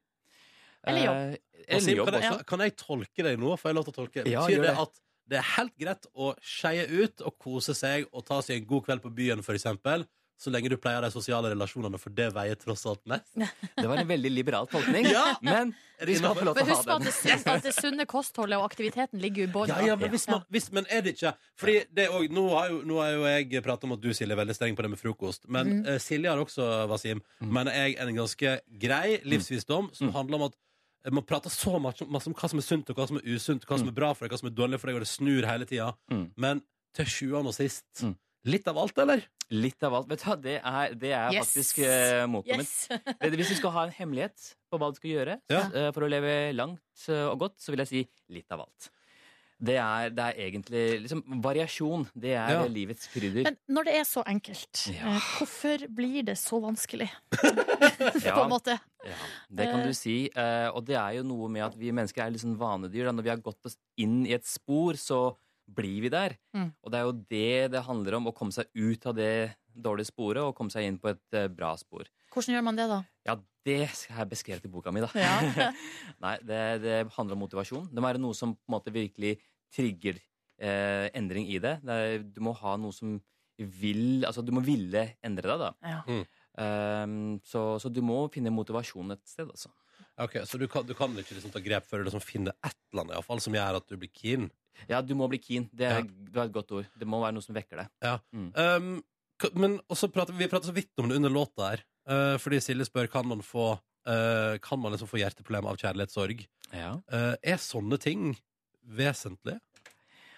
Eller jobb. Og Sim, Eller jobb kan, jeg, også. kan jeg tolke deg nå? Får jeg lov til å tolke? Ja, Betyr gjør det det. at det er helt greit å skeie ut og kose seg og ta seg en god kveld på byen, for eksempel, så lenge du pleier de sosiale relasjonene, for det veier tross alt mest? Det var en veldig liberal tolkning. Ja. Men Er det vi skal innenfor? få lov Men til å husk på ha at den. det, sunne, at det sunne kostholdet og aktiviteten ligger jo i bånn. Ja, ja, men, hvis man, hvis, men er det ikke Fordi det er også, nå, har jo, nå har jo jeg pratet om at du, Silje, er veldig streng på det med frokost. Men Mm. eh, Silje har også, Wasim, Mm. mener jeg, en ganske grei livsvisdom som Mm. handler om at eh, man prater så masse, om- masse om hva som er sunt, og hva som er usunt, hva som er bra for deg, hva som er dårlig for deg, og det snur hele tida. Mm. Men til sjuende og sist Mm. Litt av alt, eller? Litt av alt. Vet du hva, det er, det er Yes. faktisk uh, motoren Yes. min. Det- Eh, Hvis du skal ha en hemmelighet på hva du skal gjøre Ja. eh, for å leve langt eh, og godt, så vil jeg si litt av alt. Det er, det er egentlig liksom, Variasjon, det er Ja. eh, livets krydder. Men når det er så enkelt, Ja. eh, hvorfor blir det så vanskelig? På Ja. en måte. Ja, det kan Eh. du si. eh, Og det er jo noe med at vi mennesker er litt sånn vanedyr. Da. Når vi har gått oss inn i et spor, så blir vi der. Mm. Og det er jo det det handler om. Å komme seg ut av det dårlige sporet og komme seg inn på et eh, bra spor. Hvordan gjør man det, da? Ja, det har jeg beskrevet i boka mi, da. Ja. Nei, det, det handler om motivasjon. Det må være noe som på en måte virkelig trigger eh, endring i det. det er, du må ha noe som vil Altså, du må ville endre deg, da. Ja. Mm. Eh, så, så du må finne motivasjon et sted, altså. Ok, Så du kan, du kan ikke liksom ta grep før du liksom finner et eller annet i hvert fall, som gjør at du blir keen? Ja, du må bli keen. Det er, Ja. det er et godt ord. Det må være noe som vekker deg. Um, k- men også prater, vi prater så vidt om det under låta her. eh, fordi Silje spør kan man få eh, Kan man liksom få hjerteproblemer av kjærlighetssorg. Eh, er sånne ting vesentlig?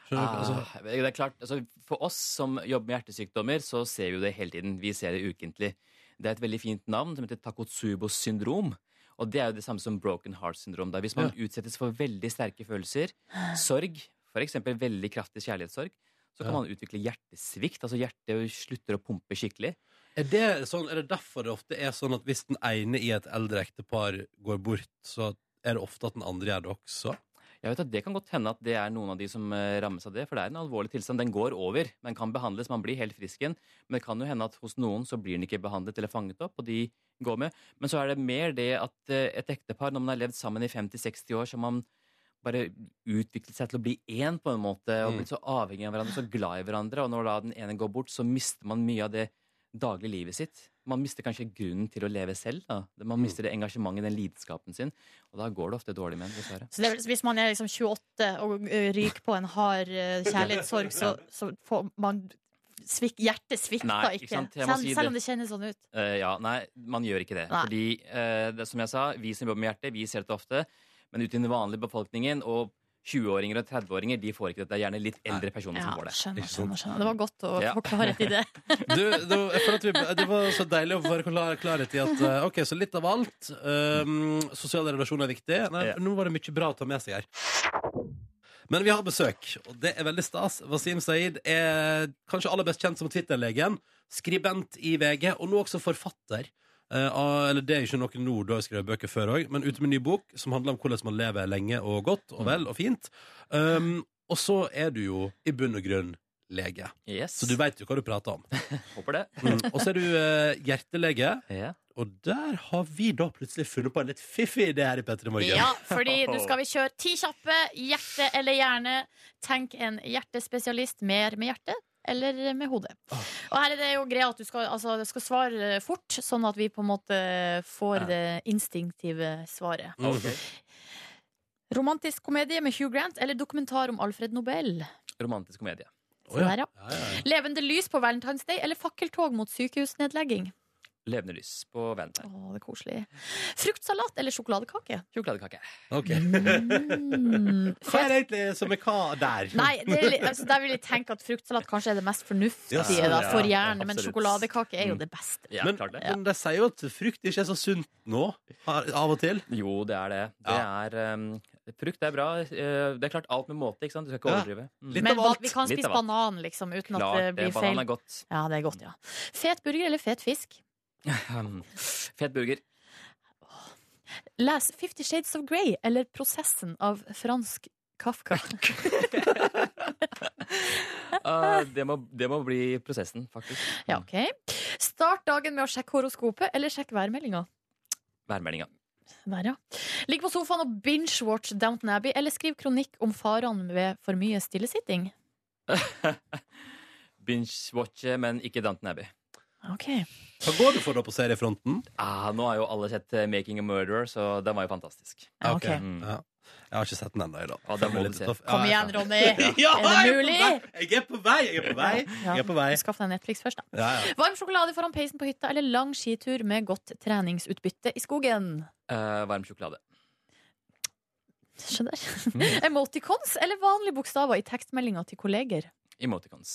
Skjønner Ah, du? Altså, det er klart, altså, for oss som jobber med hjertesykdommer, så ser vi jo det hele tiden. Vi ser det ukentlig. Det er et veldig fint navn som heter Takotsubo syndrom. Og det er jo det samme som broken heart syndrom. Da. Hvis man utsettes for veldig sterke følelser, sorg, f.eks. veldig kraftig kjærlighetssorg, så kan Ja. man utvikle hjertesvikt. Altså hjertet slutter å pumpe skikkelig. er, det sånn, er det derfor det ofte er sånn at hvis den ene i et eldre ektepar går bort, så er det ofte at den andre gjør det også? Jeg vet at Det kan godt hende at det er noen av de som eh, rammes av det. For det er en alvorlig tilstand. Den går over. Den kan behandles, man blir helt frisk igjen. Men det kan jo hende at hos noen så blir den ikke behandlet eller fanget opp, og de går med. Men så er det mer det at eh, et ektepar, når man har levd sammen i 50-60 år, så har man bare utviklet seg til å bli én på en måte, og Mm. blitt så avhengig av hverandre, så glad i hverandre. Og når da den ene går bort, så mister man mye av det daglige livet sitt. Man mister kanskje grunnen til å leve selv. da. Man mister det engasjementet, den lidenskapen sin. Og da går det ofte dårlig med en, dessverre. Så det, er vel- hvis man er liksom 28 og ø, ryker på en hard ø, kjærlighetssorg, så, så får man svik, Hjertet svikter Nei, ikke ikke. sant? Jeg må Selv, si selv om det. det kjennes sånn ut. Eh, ja, nei, man gjør ikke det. Nei. Fordi, eh, det, som jeg sa, vi som jobber med hjertet, vi ser dette ofte. Men ute i den vanlige befolkningen og 20-åringer og 30-åringer, de får ikke dette. Det er gjerne litt eldre personer Ja, som får det. skjønner, Ikke sant? skjønner, skjønner. Det var godt å Ja. få klarhet i det. Du, det, var, jeg føler at vi, det var så deilig å være klar, klarhet i at eh, OK, så litt av alt. ehm, sosiale relasjoner er viktig. Nei, Ja. Nå var det mye bra å ta med seg her. Men vi har besøk, og det er veldig stas. Wasim Saeed er kanskje aller best kjent som Twitter-legen, skribent i VG, og nå også forfatter. Eh, av- eller det er ikke noe nå, du har jo skrevet bøker før òg, men ute med en ny bok som handler om hvordan man lever lenge og godt og vel og fint. Ehm, og så er du jo i bunn og grunn lege, Yes, så du veit jo hva du prater om. håper det. Mm. Og så er du eh, hjertelege, Ja. og der har vi da plutselig funnet på en litt fiffig idé her i Petter i morgen. Ja, fordi nå skal vi kjøre ti kjappe. Hjerte eller hjerne. Tenk en hjertespesialist mer med hjertet. Eller med hodet. Ah. Og her er det jo greia at du skal, altså, du skal svare fort, sånn at vi på en måte får Ja. det instinktive svaret. Mm. Romantisk komedie med Hugh Grant eller dokumentar om Alfred Nobel? Romantisk komedie. Å, ja. Der, ja. Ja, ja, ja. Levende lys på Valentine's Day eller fakkeltog mot sykehusnedlegging? levende lys på Valentine. Å, det er koselig. Fruktsalat eller sjokoladekake? Sjokoladekake. Ok. Mm. Hva er det egentlig som er hva der? Nei, det er, li- altså, der vil jeg tenke at fruktsalat kanskje er det mest fornuftige Ja, sånn, da, ja, for hjernen, men absolutt. Mm. sjokoladekake er jo det beste. Ja, men, klart det. men de sier jo at frukt ikke er så sunt nå, har- av og til. Jo, det er det. Det er um, Frukt er bra. Eh, Det er klart alt med måte, ikke sant? Du skal ikke Ja. overdrive. Mm. Litt Men av alt. vi kan Litt spise av alt. banan, liksom, uten at det Klart det. blir feil. Banan er godt. Ja, det er godt, ja. Fet burger eller fet fisk? Fet burger. Les Fifty Shades of Grey eller Prosessen av fransk Kafka. Eh, det, må, det må bli prosessen, faktisk. Ja, ok. Start dagen med å sjekke horoskopet eller sjekke værmeldinga. Værmeldinga. Der, ja. Ligg på sofaen og binge-watch Downton Abbey eller skriv kronikk om farene ved for mye stillesitting. Binge-watche, men ikke Downton Abbey. Ok. Hva går du for da på seriefronten? Ah, nå har jo alle sett eh, Making a Murderer, så den var jo fantastisk. Ja, Ok. ok. Mm. Ja. Jeg har ikke sett den ennå i dag. Ja, den må du se. Kom igjen, Ronny! Ja, Er det jeg mulig? på vei. Jeg er på vei! Jeg er på vei. Ja. Jeg er på vei. Skaff deg Netflix først, da. Ja, ja. Varm sjokolade foran peisen på hytta eller lang skitur med godt treningsutbytte i skogen. Eh, varm sjokolade. Skjønner. Emoticons eller vanlige bokstaver i tekstmeldinga til kolleger. Emoticons.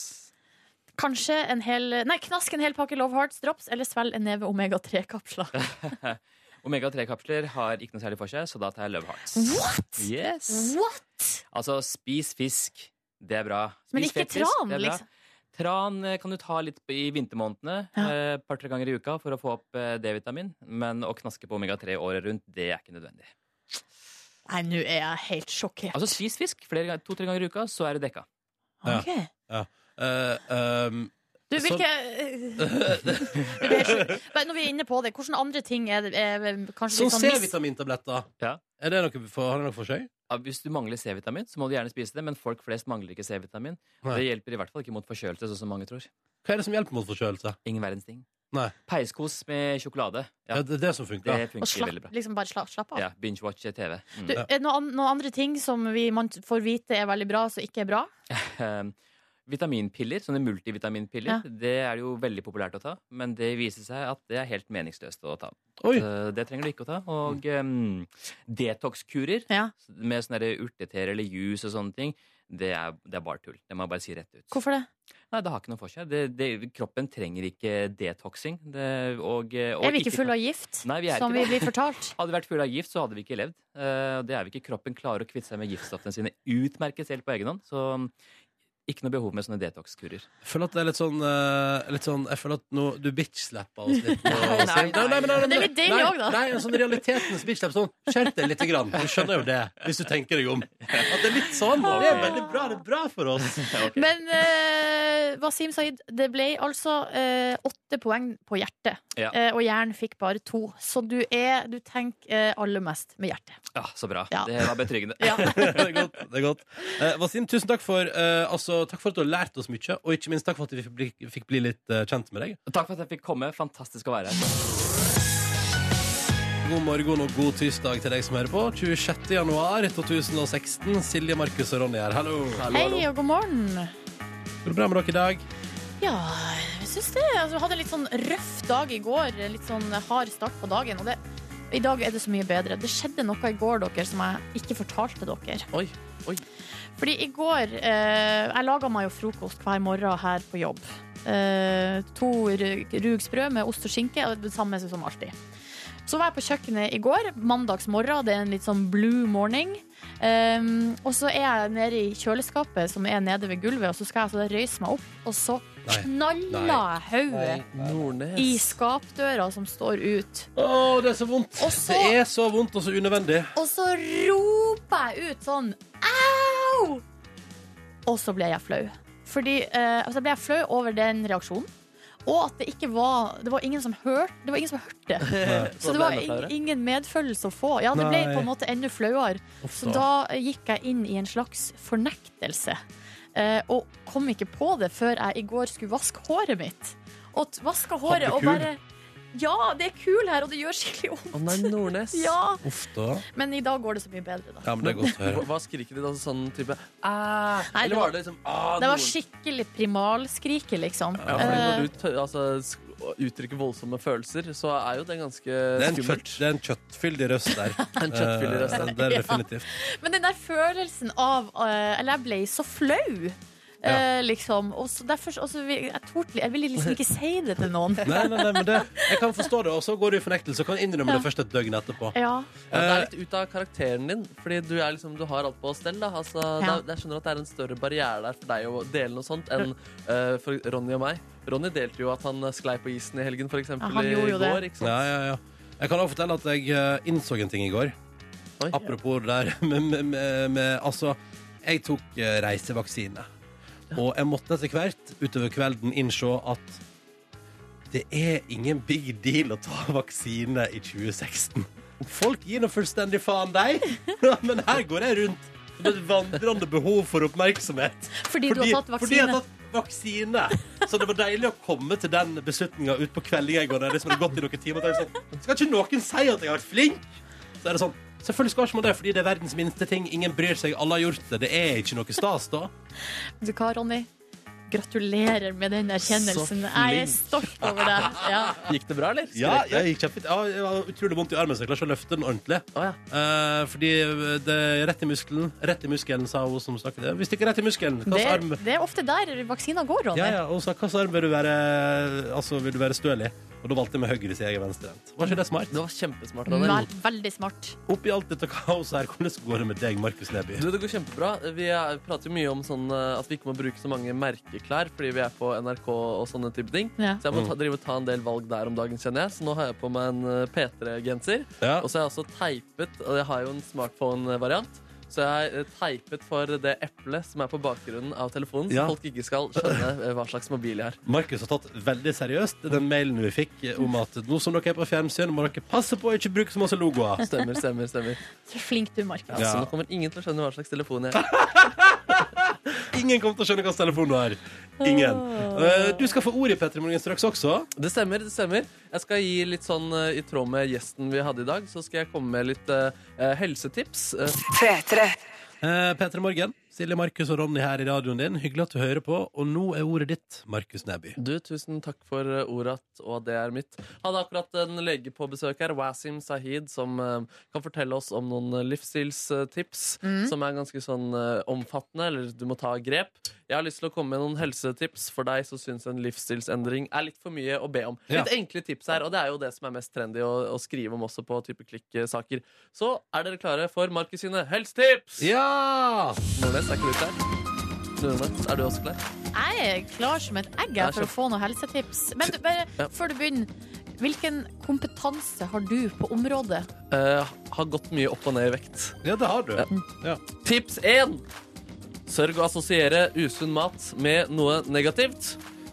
Kanskje en hel Nei, knask en hel pakke Love Hearts drops eller svelg en neve omega-3-kapsler. Omega-3-kapsler har ikke noe særlig for seg, så da tar jeg Love Hearts. What?! Yes. What?! Altså, spis fisk. Det er bra. Spis Men ikke fett fisk, tran, det er bra. liksom. Tran eh, kan du ta litt i vintermånedene, Ja. eh, par-tre ganger i uka, for å få opp eh, D-vitamin. Men å knaske på omega-3 året rundt, det er ikke nødvendig. Nei, nå er jeg helt sjokkert. Altså, spis fisk flere ganger- to-tre ganger i uka, så er du dekka. Ja. Ok. Eh, ehm, Du, hvilke Du blir helt sjuk. Nei, Når vi er inne på det, hvilke andre ting er, det- er Sånn kanskje litt sånn mis... C-vitamintabletter. Ja. Er det noe for, har det noe for seg? Ja, Hvis du mangler C-vitamin, så må du gjerne spise det, men folk flest mangler ikke C-vitamin. Nei. Det hjelper i hvert fall ikke mot forkjølelse, sånn som mange tror. Hva er det som hjelper mot forkjølelse? Ingen verdens ting. Nei. Peiskos med sjokolade. Ja. Ja, Det er det som funker. det Og funker slapp, veldig bra. liksom bare slapp, slapp av. Ja, Binge-watch TV. Mm. Du, er det noen, an- noen andre ting som vi, man får vite er veldig bra, som ikke er bra? Eh, Vitaminpiller, sånne multivitaminpiller, Ja. det er jo veldig populært å ta. Men det viser seg at det er helt meningsløst å ta. Oi. Så Det trenger du ikke å ta. Og um, detox-kurer Ja. med sånne der urteteer eller juice og sånne ting, det er, det er bare tull. Det må jeg bare si rett ut. Hvorfor det? Nei, det har ikke noe for seg. Det, det, kroppen trenger ikke detoxing. Det, og, eh, og Er vi ikke fulle av gift, Nei, vi er som vi ikke det. blir fortalt? Hadde vi vært fulle av gift, så hadde vi ikke levd. Eh, og det er vi ikke. Kroppen klarer å kvitte seg med giftstoffene sine utmerket selv på egen hånd. Så mm, ikke noe behov med sånne detox-kurer. Jeg føler at det er litt sånn, eh, litt sånn Jeg føler at nå, du bitch-slapper oss litt. Nå, Nei, nei, Nei, nei, men nei, Men det er nei, litt deilig nei, også, da. Nei, en sånn realitetens bitch-slap. Sånn, skjerp deg lite grann. Du skjønner jo det, hvis du tenker deg om. At det er litt sånn. Det er veldig bra. Det er bra for oss. Ok. Men eh, Wasim Saeed, det ble altså eh, åtte poeng på hjertet. Ja. Eh, og hjernen fikk bare to. Så du er Du tenker eh, aller mest med hjertet. Ja, så bra. Ja. Det var betryggende. Ja. det er godt. det er godt eh, Wasim, tusen takk for, eh, altså, takk for at du har lært oss mye, og ikke minst takk for at vi fikk bli, fikk bli litt eh, kjent med deg. Takk for at jeg fikk komme. Fantastisk å være her. God morgen og god tirsdag til deg som hører på. 26. januar 2016. Silje, Markus og Ronny her. Hallo. Hei og god morgen. Går det bra med dere i dag? Ja, jeg syns det. Altså, jeg hadde en litt sånn røff dag i går. en Litt sånn hard start på dagen. Og det, i dag er det så mye bedre. Det skjedde noe i går dere, som jeg ikke fortalte dere. Oi, oi. Fordi i går eh, Jeg laga meg jo frokost hver morgen her på jobb. Eh, to rug- rugsprø med ost og skinke. og Det samme som alltid. Så var jeg på kjøkkenet i går. Mandags morgen. Det er en litt sånn blue morning. Um, og så er jeg nede i kjøleskapet, som er nede ved gulvet, og så skal jeg altså røyse meg opp, og så Nei. knalla Nei. jeg hodet Nordnes. i skapdøra som står ut. Å, det er så vondt! Og så- Det er så vondt og så unødvendig. Og så roper jeg ut sånn Au! Og så ble jeg flau. Fordi, eh, altså ble jeg flau over den reaksjonen. Og at det ikke var Det var ingen som hørte det. Var ingen som hørte. Så det var ing- ingen medfølelse å få. Ja, det ble Nei. på en måte enda flauere. Uff Så da gikk jeg inn i en slags fornektelse. eh, Og kom ikke på det før jeg i går skulle vaske håret mitt. Og t- vaska håret og kul? bare Ja, det er kul her, og det gjør skikkelig vondt. Å nei, Nordnes. Ja, Uff da. Men i dag går det så mye bedre, da. Ja, men det er godt å Hva høre. hva skriker de da? Sånn type ah, Nei, det Eller var- var det liksom ah, Det var Nordnes. skikkelig primalskriket, liksom. Ja, fordi Eh, når du tør, altså, sk- å uttrykke voldsomme følelser, så er jo det ganske Det er en, kjøtt, skummelt. det er en kjøttfyldig røst der. En kjøttfyldig røst, Eh, ja. Det er det definitivt. Men den der følelsen av eh, Eller jeg ble så flau. eh, liksom. Og så derfor, og så vil- jeg, torde- jeg ville liksom ikke si det til noen. Nei, nei, nei, men det, jeg kan forstå det, og så går du i fornektelse og kan innrømme det først et døgn etterpå. Ja. Ja, Eh, det er litt ut av karakteren din, fordi du, er liksom, du har alt på stell. Da. Altså, Ja. det er, jeg skjønner at det er en større barriere der for deg å dele noe sånt enn eh, for Ronny og meg. Ronny delte jo at han eh, sklei på isen i helgen, for eksempel, Ja, han gjorde i jo går. det. Ikke sant? Ja, ja, ja. Jeg kan også fortelle at jeg eh, innså en ting i går. Oi. Apropos det der med, med, med, med Altså, jeg tok eh, reisevaksine. Og jeg måtte etter hvert utover kvelden innse at det er ingen big deal å ta vaksine i 2016. Folk gir nå fullstendig faen deg, men her går jeg rundt med et vandrende behov for oppmerksomhet. Fordi, du har tatt Fordi jeg har vaksine. tatt vaksine. Så det var deilig å komme til den beslutninga utpå kveldinga i går. da Jeg liksom hadde gått i noen timer og tenkt sånn Skal ikke noen si at jeg har vært flink? Så er det sånn Selvfølgelig skal ikke man det, fordi det er verdens minste ting. Ingen bryr seg. Alle har gjort det. Det er ikke noe stas, da. Vet Du hva, Ronny? Gratulerer med den erkjennelsen. Så Jeg er flink. stolt over deg. Ja. Gikk det bra, eller? Ja, Skrek jeg gikk kjempefint. Ja, jeg har utrolig vondt i armen, så jeg klarer ikke å løfte den ordentlig. Å, ja. Eh, fordi det er rett i muskelen. Rett i muskelen, sa hun som snakket. Hvis det ikke er rett i muskelen, hva slags arm Det, det er ofte der vaksina går, Ronny. Ja, ja, og så hva slags arm vil du være Altså, vil du være støl i? Og da valgte jeg med høyre side, jeg er venstrehendt. Var ikke det smart? Det var kjempesmart av deg. Vel, Mm. veldig smart. Oppi alt dette kaoset her, hvordan går det med deg, Markus Neby? Du, det går kjempebra. Vi er, prater jo mye om sånn, eh, at vi ikke må bruke så mange merkeklær fordi vi er på NRK og sånne type ting. Ja. Så jeg Mm. må ta, drive og ta en del valg der om dagen, kjenner jeg. Så nå har jeg på meg en eh, P3-genser. Ja. Og så har jeg også teipet og Jeg har jo en smartphone-variant. Så jeg har eh, teipet for det eplet som er på bakgrunnen av telefonen, så Ja. folk ikke skal skjønne eh, hva slags mobil jeg har. Markus har tatt veldig seriøst den mailen vi fikk eh, om at nå som dere er på fjernsyn, må dere passe på å ikke bruke så masse logoer. Stemmer, stemmer, stemmer. Så flink du, Markus. Ja, Ja. Så nå kommer ingen til å skjønne hva slags telefon jeg har. Ingen kommer til å skjønne hvilken telefon du har. Ingen. Eh, Du skal få ordet, Petter Morgen, straks også. Det stemmer, det stemmer. Jeg skal gi litt sånn eh, i tråd med gjesten vi hadde i dag, så skal jeg komme med litt eh, eh, helsetips. Eh, Eh, Petter Morgen, Silje, Markus og Ronny her i radioen din. Hyggelig at du hører på. Og nå er ordet ditt, Markus Neby. Du, tusen takk for eh, ordet, at- og at det er mitt. Hadde akkurat en lege på besøk her, Wasim Sahid, som eh, kan fortelle oss om noen eh, livsstilstips som er ganske sånn eh, omfattende, eller du må ta grep. Jeg har lyst til å komme med noen helsetips for deg som syns en livsstilsendring er litt for mye å be om. Ja. Litt enkle tips her, og det er jo det som er mest trendy å, å skrive om også på type klikksaker. Så er dere klare for Markus sine helsetips? Ja! Nordnes, er ikke du klar? Nordnes, er du også klar? Jeg er klar som et egg Jeg er jeg, for å så- få noen helsetips. Men du, bare Ja. før du begynner, hvilken kompetanse har du på området? Eh, har gått mye opp og ned i vekt. Ja, det har du. Tips 1 Sørg å assosiere usunn mat med noe negativt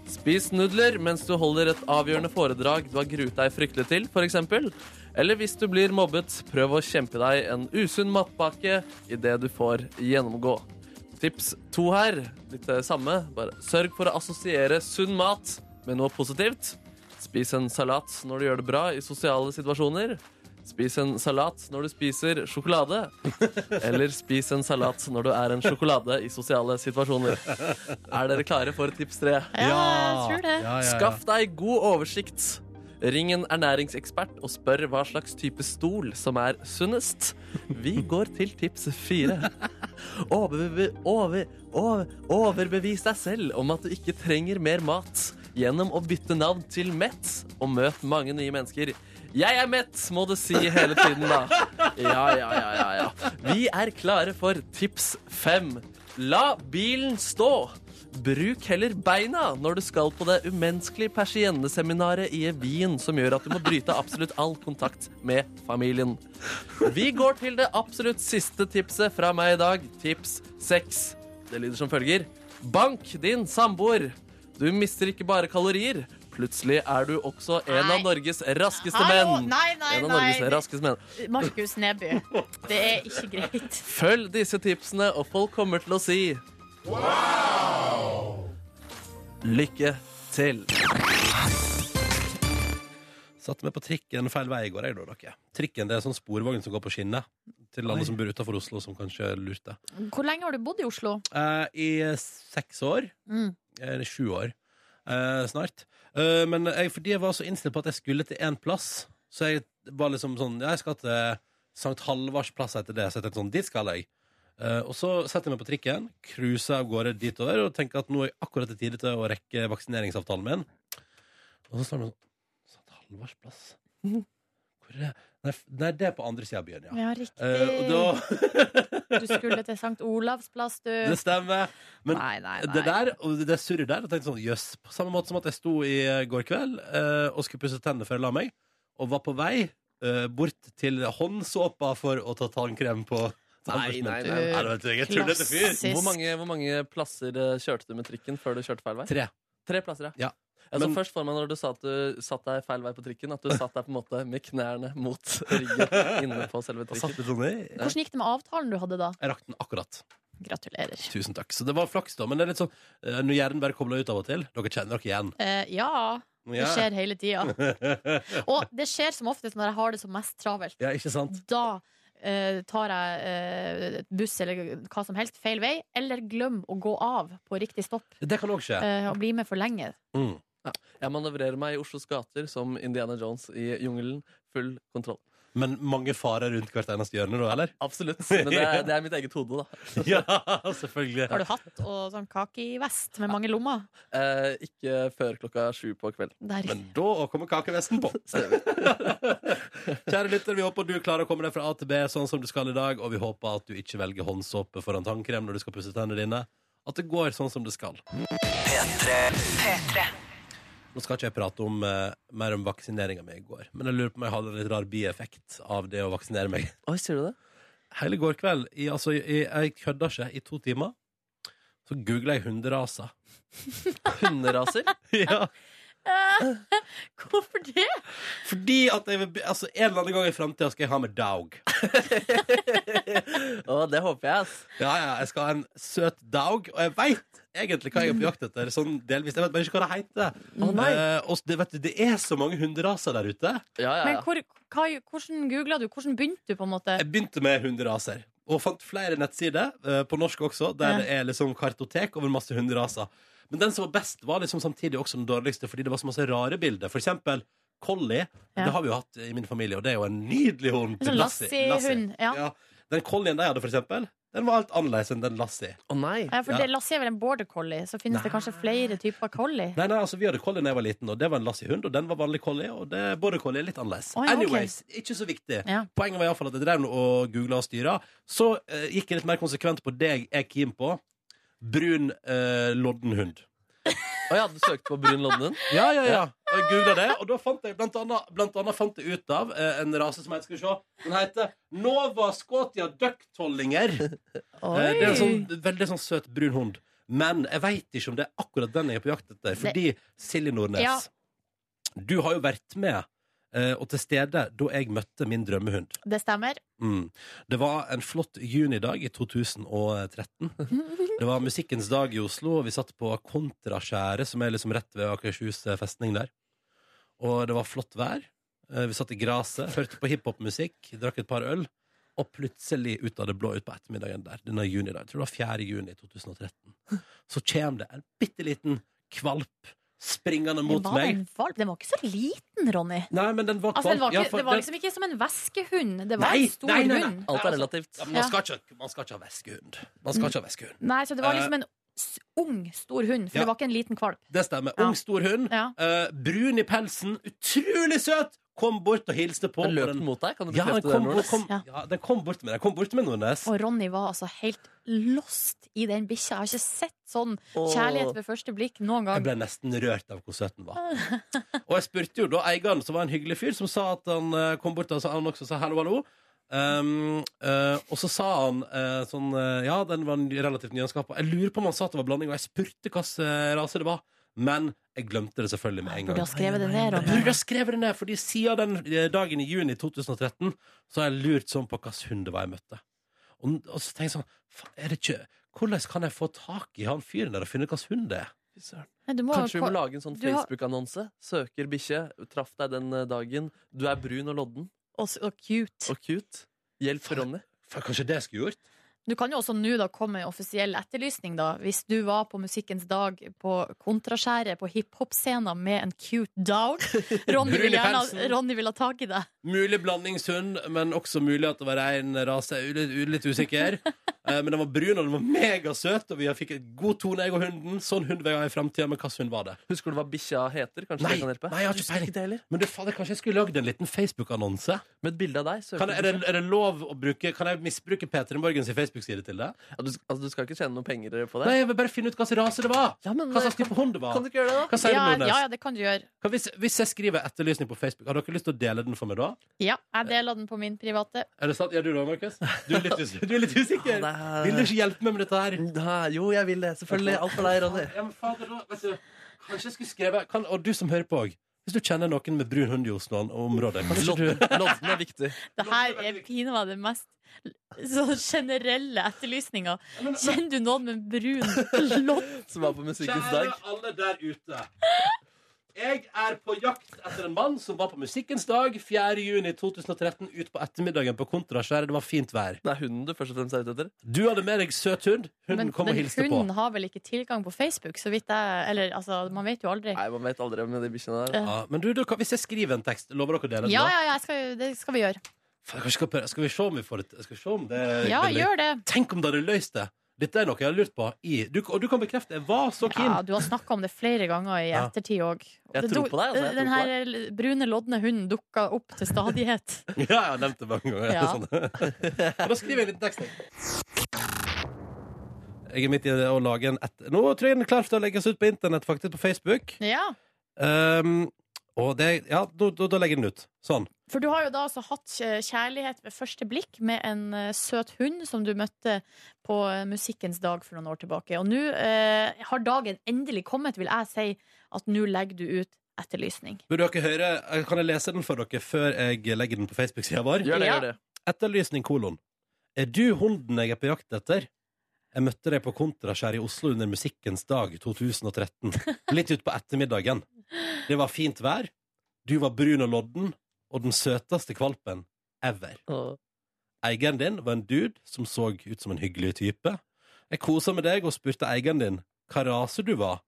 Spis nudler mens du holder et avgjørende foredrag du har gruet deg fryktelig til, for eksempel. Eller hvis du blir mobbet, prøv å kjempe deg en usunn matpakke i det du får gjennomgå. Tips 2 her, litt det samme, bare sørg for å assosiere sunn mat med noe positivt. Spis en salat når du gjør det bra i sosiale situasjoner. Spis en salat når du spiser sjokolade. Eller spis en salat når du er en sjokolade i sosiale situasjoner. Er dere klare for tips tre? Ja, jeg tror det. Ja, ja, ja. Skaff deg god oversikt. Ring en ernæringsekspert og spør hva slags type stol som er sunnest. Vi går til tips fire. Overbe over, over, overbevis deg selv om at du ikke trenger mer mat gjennom å bytte navn til Mett og møt mange nye mennesker. Jeg er mett, må du si hele tiden, da. Ja, ja, ja, ja, ja. Vi er klare for tips fem. La bilen stå. Bruk heller beina når du skal på det umenneskelige persienneseminaret i Wien, som gjør at du må bryte absolutt all kontakt med familien. Vi går til det absolutt siste tipset fra meg i dag. Tips 6. Det lyder som følger. Bank din samboer. Du mister ikke bare kalorier. Plutselig er du også en Nei. av Norges raskeste Hallo, menn. nei, nei, en av nei. Norges raskeste menn. Markus Neby, det er ikke greit. Følg disse tipsene, og folk kommer til å si Wow! Lykke til. Satte meg på trikken feil vei i går, jeg da, dere. Trikken det er sånn sporvogn som går på skinnet. Til alle som bor utafor Oslo, som kanskje lurte. Hvor lenge har du bodd i Oslo? Eh, I seks år. Mm. Eller sju år. eh, snart. Eh, men jeg, fordi jeg var så innstilt på at jeg skulle til én plass, så jeg var liksom sånn ja, Jeg skal til Sankt Halvards plass etter det. Så jeg tenkte sånn, dit skal jeg. Eh, og så setter jeg meg på trikken, cruiser av gårde ditover og tenker at nå er jeg akkurat i tide til å rekke vaksineringsavtalen min. Og så står det sånn Sankt Halvards plass? Hvor er det? Nei, f- Nei, det er på andre sida av byen, ja. Ja, riktig. Eh, og da, Du skulle til Sankt Olavs plass, du. det stemmer. men nei, nei, nei. Det der, og det surret der, og tenkte sånn, jøss. På samme måte som at jeg sto i eh, går kveld eh, og skulle pusse tennene før jeg la meg, og var på vei eh, bort til håndsåpa for å ta tannkrem på Nei, nei, nei. Er det vet du, jeg er tullete fyr? Klassisk. Hvor mange, hvor mange plasser eh, kjørte du med trikken før du kjørte feil vei? Tre. Tre plasser, Ja. Jeg så Men- først for meg når du sa at du satt deg feil vei på trikken, at du satt deg på en måte med knærne mot ryggen inne på selve Og trikken. satt litt sånn i. Hvordan gikk det med avtalen du hadde da? Jeg rakk den akkurat. Gratulerer. Tusen takk. Så det var flaks, da. Men det er litt sånn eh, når hjernen bare kobler ut av og til. Dere kjenner dere igjen. Eh, ja, det Ja. skjer hele tida. Og det skjer som oftest når jeg har det som mest travelt. Ja, ikke sant? Da eh, tar jeg eh, buss eller hva som helst feil vei, eller glem å gå av på riktig stopp Det kan òg skje. eh, og bli med for lenge. Mm. Jeg manøvrerer meg i Oslos gater som Indiana Jones i jungelen. Full kontroll. Men mange farer rundt hvert eneste hjørne, da, eller? Absolutt. Men det er, det er mitt eget hode, da. Ja, selvfølgelig. Har du hatt og sånn kakevest med mange lommer? Eh, ikke før klokka sju på kvelden. Der. Men da kommer kakevesten på. Kjære lytter, vi håper du klarer å komme deg fra A til B sånn som du skal i dag, og vi håper at du ikke velger håndsåpe foran tannkrem når du skal pusse tennene dine. At det går sånn som det skal. Nå skal ikke jeg prate om, eh, mer om vaksineringa mi i går, men jeg lurer på om jeg hadde en litt rar bieffekt av det å vaksinere meg Oi, sier du det? hele går kveld i, altså, i, Jeg kødda ikke i to timer Så googlet jeg hunderaser Hunderaser? ja, Hvorfor det? Fordi at jeg vil, be- altså, En eller annen gang i fremtiden skal jeg ha med dog Å, det håper jeg, ass. Ja, ja, jeg skal ha en søt dog Og jeg vet egentlig hva jeg er på jakt etter Sånn delvis, jeg vet bare ikke hva det heter Å, nei. Eh, Og s- det, vet du, det er så mange hunderaser der ute Ja, ja, Men ja. hvor, hva, hvordan googla du? Hvordan begynte du, på en måte? Jeg begynte med hunderaser Og fant flere nettsider, eh, på norsk også Der Ja. det er liksom kartotek over masse hunderaser Men den som var best var liksom samtidig også den dårligste Fordi det var så masse rare bilder For eksempel Collie Ja. Det har vi jo hatt i min familie Og det er jo en nydelig hund En sånn Lassie. Lassie-hund, ja. Den Collien de hadde for eksempel Den var alt annerledes enn den Lassie Å, nei. Ja, for Ja. det, Lassie er vel en border collie, så finnes det kanskje flere typer collie? Nei, nei, altså vi hadde Collie da jeg var liten Og det var en Lassie-hund Og den var vanlig Collie Og det, både Collie er litt annerledes Å, ja, ok. Anyways, ikke så viktig Ja. Poenget var i hvert fall at jeg drev nå og googla og styra. Så eh, gikk jeg litt mer konsekvent på det jeg er keen på. Brun eh, loddenhund. Å ja, du søkte på brun lodden? Ja, ja, ja. Og jeg googla det, og da fant jeg blant annet, blant annet fant jeg ut av eh, en rase som heter Skal vi se. Den heter Nova Scotia Ducktollinger. Eh, Oi. det er en sånn veldig sånn søt brun hund. Men jeg veit ikke om det er akkurat den jeg er på jakt etter, fordi Silje Nordnes, Ja. du har jo vært med eh, og til stede da jeg møtte min drømmehund. Det stemmer. Mm. Det var en flott junidag i 2013. Det var musikkens dag i Oslo, og vi satt på Kontraskjæret, som er liksom rett ved Akershus eh, festning der. Og det var flott vær. Eh, Vi satt i gresset, hørte på hiphopmusikk, drakk et par øl. Og plutselig, ut av det blå utpå ettermiddagen der, denne junidagen, jeg tror det var 4. juni 2013, så kommer det en bitte liten kvalp springende mot var meg. en valp. Den var ikke så liten, Ronny. Nei, men den var kvalp. Altså, den var Ja, ikke, for det var den- liksom ikke som en veskehund. Det var Nei, en stor nei, nei, nei. hund. Alt er relativt. Ja, men man, skal ikke, man skal ikke ha veskehund. Man skal ikke ha veskehund. Nei, så det var liksom en s- ung, stor hund, for Ja. det var ikke en liten kvalp. Det stemmer. Ja. Ung, stor hund. Ja. eh, brun i pelsen. Utrolig søt! Kom bort og hilste på. Den og løp den- den mot deg? Kan du ja, den bekrefte det, kom, Nordnes? kom, Ja. ja, den kom bort med deg. Kom bort med Nordnes. Og Ronny var altså helt lost i den bikkja. Jeg har ikke sett sånn Åh. kjærlighet ved første blikk noen Jeg gang. ble nesten rørt av hvor søt den var. Og jeg spurte jo da eieren, som var en hyggelig fyr, som sa at han eh, kom bort og sa, han også sa hallo, hallo. Um, eh, og så sa han eh, sånn eh, Ja, den var ny- relativt nyønskapa. Jeg lurer på om han sa at det var blanding, og jeg spurte hvilken rase det var. Men jeg glemte det selvfølgelig med en Burde gang. ha skrevet det ned, Jeg burde Ronny. ha skrevet det ned, fordi siden den eh, dagen i juni 2013 så har jeg lurt sånn på hvilken hund det var jeg møtte. Og, og så tenker jeg sånn "Faen, er det ikke, Hvordan kan jeg få tak i han fyren der og finne hvilken hund det er? Fy søren. Nei, du må- Kanskje vi må lage en sånn Du har- Facebook-annonse? Søker bikkje. Traff deg den eh, dagen. Du er brun og lodden Og, s- og cute. og cute. Hjelp Ronny. For kanskje det jeg skulle gjort? Du kan jo også nå da komme med offisiell etterlysning, da. Hvis du var på Musikkens dag på Kontraskjæret på hiphop-scenen med en cute dog. Ronny vil Brun i gjerne pelsen. Ronny vil ha tak i deg. Mulig blandingshund, men også mulig at det var rein rase. Jeg er litt, litt usikker. Eh, Men den var brun, og den var megasøt, og vi fikk et god tone, jeg og hunden. Sånn hund vil jeg ha i framtida, men hvilken hund var det? Husker du hva bikkja heter? Kanskje Nei, det kan hjelpe? nei, jeg har ikke Husker peiling. det heller. Men du, fader, kanskje jeg skulle lagd en liten Facebook-annonse? Med et bilde av deg. søker Kan jeg- Er, du- det- er det lov å bruke Kan jeg misbruke Peter Morgens Facebook-side til det? Ja, du, altså, du skal ikke tjene noen penger på det? Nei, jeg vil bare finne ut hva slags rase det var! Ja, men, Hva slags type hund det var. Kan du ikke gjøre det, da? Hva sier Ja, du, Nordnes? ja, ja, det kan du gjøre. Kan- Hvis, hvis jeg skriver etterlysning på Facebook, har dere lyst til å dele den for meg da? Ja, jeg deler den på min private. Er det sant? Ja, du da, Markus? Du er litt usikker. Du er litt usikker. Nei. Vil du ikke hjelpe meg med dette her? Nei, jo, jeg vil det. Selvfølgelig. Alt for deg, Ronny. Ja, men fader, da, vet du, kanskje jeg skulle skrevet kan, Og du som hører på òg. Hvis du kjenner noen med brun hund i Oslo og området kan ikke du, Lodden, lodden er viktig. Det her er pinadø meg det mest så generelle etterlysninga. Kjenner du noen med brun lodd? Som var på Musikkens dag. alle der ute. Jeg er på jakt etter en mann som var på Musikkens dag 4.6.2013 ut på ettermiddagen på Kontraskjæret. Det var fint vær. Det er hunden du først og fremst er ute etter. Du hadde med deg søt hund. Hunden Men, kom men og hilste på. hunden har vel ikke tilgang på Facebook, så vidt jeg Eller altså, man vet jo aldri. Nei, man vet aldri med de bikkjene der. Ja, men du, da, kan- hvis jeg skriver en tekst, lover dere å dele den? Ja, da? ja, ja, jeg skal, det skal vi gjøre. Faen, kanskje Skal, prøve- skal vi se om vi får det Skal vi se om det Ja, det- gjør det. Tenk om det hadde løst det! Dette er noe jeg har lurt på. I, du, og du kan bekrefte jeg var så keen. Ja, du har snakka om det flere ganger i Ja. ettertid òg. Jeg tror på deg, altså, jeg Den tror på her brune, lodne hunden dukka opp til stadighet. Ja, jeg har nevnt det mange ganger. Ja. Sånn. Men da skriver jeg en liten tekst. Jeg Jeg er midt i det å lage en et... Nå tror jeg den er klar for å legges ut på internett, faktisk, på Facebook. Ja. Um, og det Ja, da, da, da legger jeg den ut. Sånn. For du har jo da altså hatt eh, kjærlighet ved første blikk med en eh, søt hund som du møtte på eh, Musikkens dag for noen år tilbake. Og nå eh, har dagen endelig kommet, vil jeg si, at nå legger du ut etterlysning. Vil dere høre eh, Kan jeg lese den for dere før jeg legger den på Facebook-sida vår? Gjør det, Ja. gjør det. Etterlysning kolon. Er du hunden jeg er på jakt etter? Jeg møtte deg på Kontraskjær i Oslo under Musikkens dag 2013. Litt utpå ettermiddagen. Det var fint vær. Du var brun og lodden, og den søteste kvalpen ever. Åh. Eieren din var en dude som så ut som en hyggelig type. Jeg kosa med deg og spurte eieren din hva rase du var,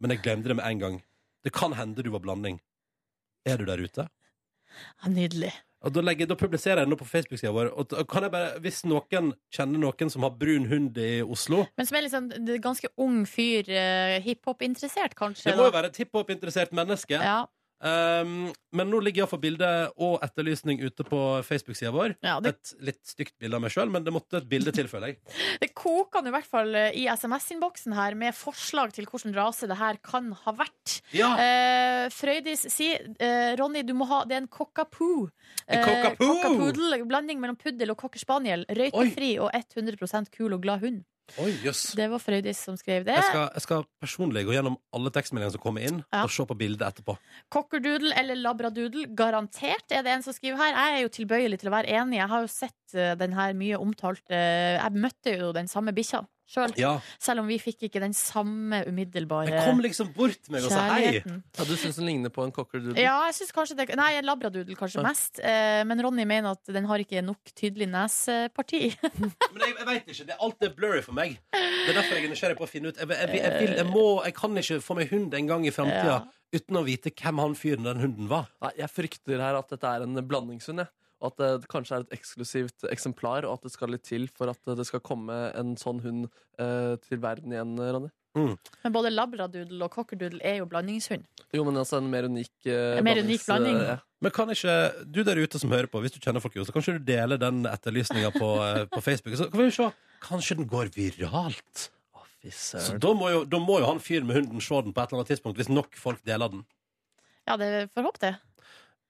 men jeg glemte det med en gang. Det kan hende du var blanding. Er du der ute? Ja, nydelig. Og da, legger, da publiserer jeg den nå på Facebook-sida vår. Og da kan jeg bare, hvis noen kjenner noen som har brun hund i Oslo Men som er liksom en ganske ung fyr, eh, hiphop-interessert kanskje. Det må jo da. være et hiphop-interessert menneske. Ja, Um, men nå ligger iallfall bilde og etterlysning ute på Facebook-sida vår. ja det, Et litt stygt bilde av meg sjøl, men det måtte et bilde til, føler jeg. det koker nå i hvert fall eh, i SMS-innboksen her med forslag til hvilken rase det her kan ha vært. Ja, Eh, Frøydis sier eh, Ronny, du må ha det er en cockapoo. En cockapoo! cockapoodle, blanding mellom puddel og cockerspaniel. Røytefri og 100 kul og glad hund. Eh, oi, jøss. Det var Frøydis som skrev det. Jeg skal, jeg skal personlig gå gjennom alle tekstmeldingene som kommer inn, Ja. og se på bildet etterpå. Cockerdoodle eller labradoodle, garantert er det en som skriver her. Jeg er jo tilbøyelig til å være enig. Jeg har jo sett eh, den her mye omtalt. eh, Jeg møtte jo den samme bikkja sjøl, Ja. selv om vi fikk ikke den samme umiddelbare Jeg kom liksom bort til meg og sa hei. kjærligheten. Ja, du syns den ligner på en cockerdoodle? Ja, jeg synes kanskje det Nei, en labradoodle kanskje Ja. mest. eh, Men Ronny mener at den har ikke nok tydelig neseparti. Men jeg, jeg vet ikke. Det, alt er blurry for meg. Det er derfor jeg er nysgjerrig på å finne ut. Jeg, jeg, jeg, jeg, vil, jeg, må, jeg kan ikke få meg hund en gang i framtida Ja. uten å vite hvem han fyren den hunden var. Nei, jeg frykter her at dette er en blandingshund, jeg. Og at det kanskje er et eksklusivt eksemplar, og at det skal litt til for at det skal komme en sånn hund eh, til verden igjen, Ronny. Men både labradoodle og cockerdoodle er jo blandingshund. Jo, men altså en mer unik eh, En mer unik blandings- blanding. eh, ja. Men kan ikke du der ute som hører på, hvis du kjenner folk i Oslo, kanskje du deler den etterlysninga på, eh, på Facebook? Så kan vi jo se. Kanskje den går viralt. Å, fy Så søren. da må jo, da må jo han fyren med hunden se den på et eller annet tidspunkt, hvis nok folk deler den. Ja, det får håpe det.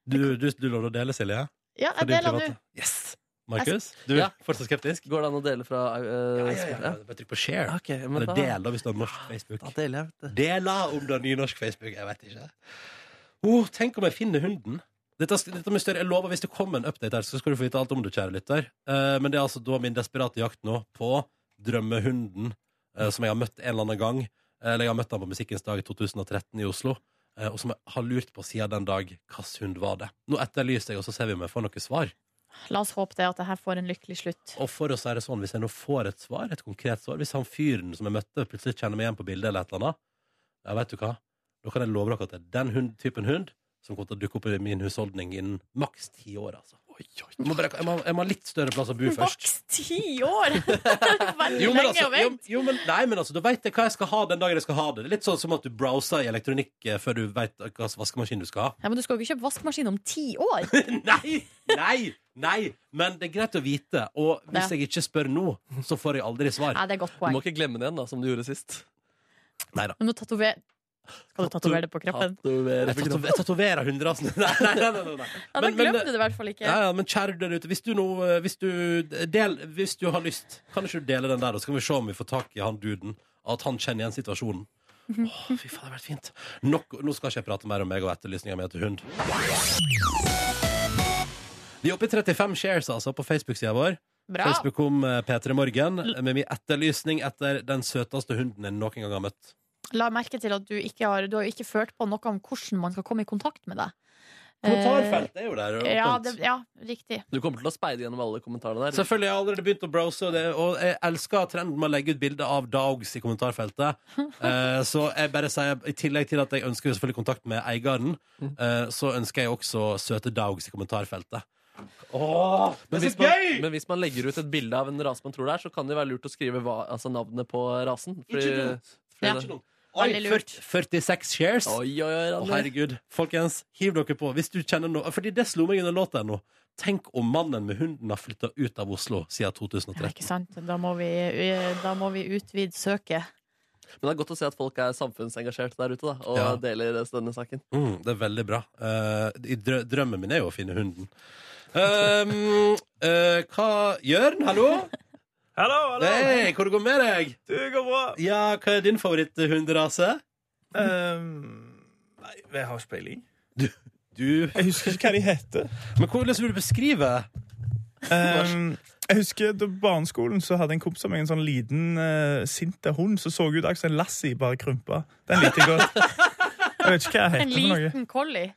Du, du, du lover å dele, Silje? Ja, For jeg din deler nå. private? Yes! Markus, du er Ja. fortsatt skeptisk? Går det an å dele fra eh, ja? Bare trykk på share. Ok, men Eller da, del, da, hvis du har norsk da Facebook. deler jeg, vet du. Dela om du har nynorsk Facebook. Jeg vet ikke. Oh, tenk om jeg finner hunden. Dette, dette med større, jeg lover Hvis det kommer en update her, så skal du få vite alt om det, kjære lytter. Eh, men det er altså da min desperate jakt nå på drømmehunden eh, som jeg har møtt en eller annen gang. Eh, Eller jeg har møtt han på Musikkens dag i 2013 i Oslo. eh, og som jeg har lurt på siden den dag hvilken hund var det. Nå etterlyser jeg, og så ser vi om jeg får noe svar. La oss håpe det at det her får en lykkelig slutt. Og for å si det sånn, hvis jeg nå får et svar, et konkret svar Hvis han fyren som jeg møtte, plutselig kjenner meg igjen på bildet eller et eller annet, ja, vet du hva, da kan jeg love dere at det er den hund, typen hund som kommer til å dukke opp i min husholdning innen maks ti år, altså. Jeg må, bare, jeg, må, jeg må ha litt større plass å bo først. Maks ti år! Det er Veldig Jo, men lenge altså, å jo, vente. jo, men, nei, men altså, da veit jeg hva jeg skal ha den dagen jeg skal ha det. Det er Litt sånn som at du browser i elektronikk eh, før du veit hva slags vaskemaskin du skal ha. Ja, men du skal jo ikke kjøpe vaskemaskin om ti år. Nei! Nei! Nei! Men det er greit å vite. Og hvis Ja. jeg ikke spør nå, så får jeg aldri svar. Nei, det er et godt Du poeng. må ikke glemme det igjen, da, som du gjorde sist. Nei da. Men du tatover... Skal du tatovere det på kroppen? Tatovere Jeg på kroppen. tato- jeg tatoverer hundrasen. Nei, nei, nei. nei, nei. Ja, da Men- men- glemte du det i hvert fall ikke. Ja, ja, men kjære du der ute, hvis du, nå, eh, hvis, du del, hvis du har lyst, kan ikke du dele den der, da? så kan vi se om vi får tak i han duden, at han kjenner igjen situasjonen. Mhm. Åh, fy faen, det har vært fint. Nok, nå skal ikke jeg prate mer om meg og etterlysninga mi etter hund. Vi er oppe i 35 shares altså, på Facebook-sida vår. Bra. Facebook om eh, P3 Morgen med min etterlysning etter den søteste hunden jeg noen gang har møtt. La merke til at du ikke har, du har jo ikke ført på noe om hvordan man skal komme i kontakt med deg. Kommentarfeltet er jo der. Eh, Ja, åpent. det, ja riktig. Du kommer til å speide gjennom alle kommentarene der. Selvfølgelig, jeg har allerede begynt å browse, og, det, og jeg elsker trenden med å legge ut bilder av dogs i kommentarfeltet. Eh, så jeg bare sier, i tillegg til at jeg ønsker jo selvfølgelig kontakt med eieren, eh, så ønsker jeg også søte dogs i kommentarfeltet. Åh, det Men er hvis, så man, gøy! men hvis man legger ut et bilde av en rase man tror det er, så kan det være lurt å skrive hva, altså navnet på rasen. Ikke dumt. fordi Ja. det- Ikke noe. Oi, Veldig lurt. 40, 46 shares. Å, Oi, oi, oi, Randi. herregud. Folkens, hiv dere på hvis du kjenner noe. Fordi det slo meg under låta nå. Tenk om mannen med hunden har flytta ut av Oslo siden Ja, 2013. ikke sant? Da må vi, vi- da må vi utvide søket. Men det er godt å se at folk er samfunnsengasjert der ute, da, og Ja. deler denne saken. Mm, det er veldig bra. Eh, i drø drømmen min er jo å finne hunden. Um, eh, hva Jørn, hallo? Hallo, hallo! Hei, hvor går det med deg? Du, går bra. Ja, Hva er din favoritthunderase? Ehm, nei, jeg har ikke peiling. Du Jeg husker ikke hva de heter. Men hvordan vil du beskrive? Ehm, jeg husker Da barneskolen så hadde en kompis av meg en sånn liten uh, sinte hund som så ut akkurat som en lassi, bare krympa. Den likte jeg godt. Jeg vet ikke hva jeg En heter for noe. liten collie.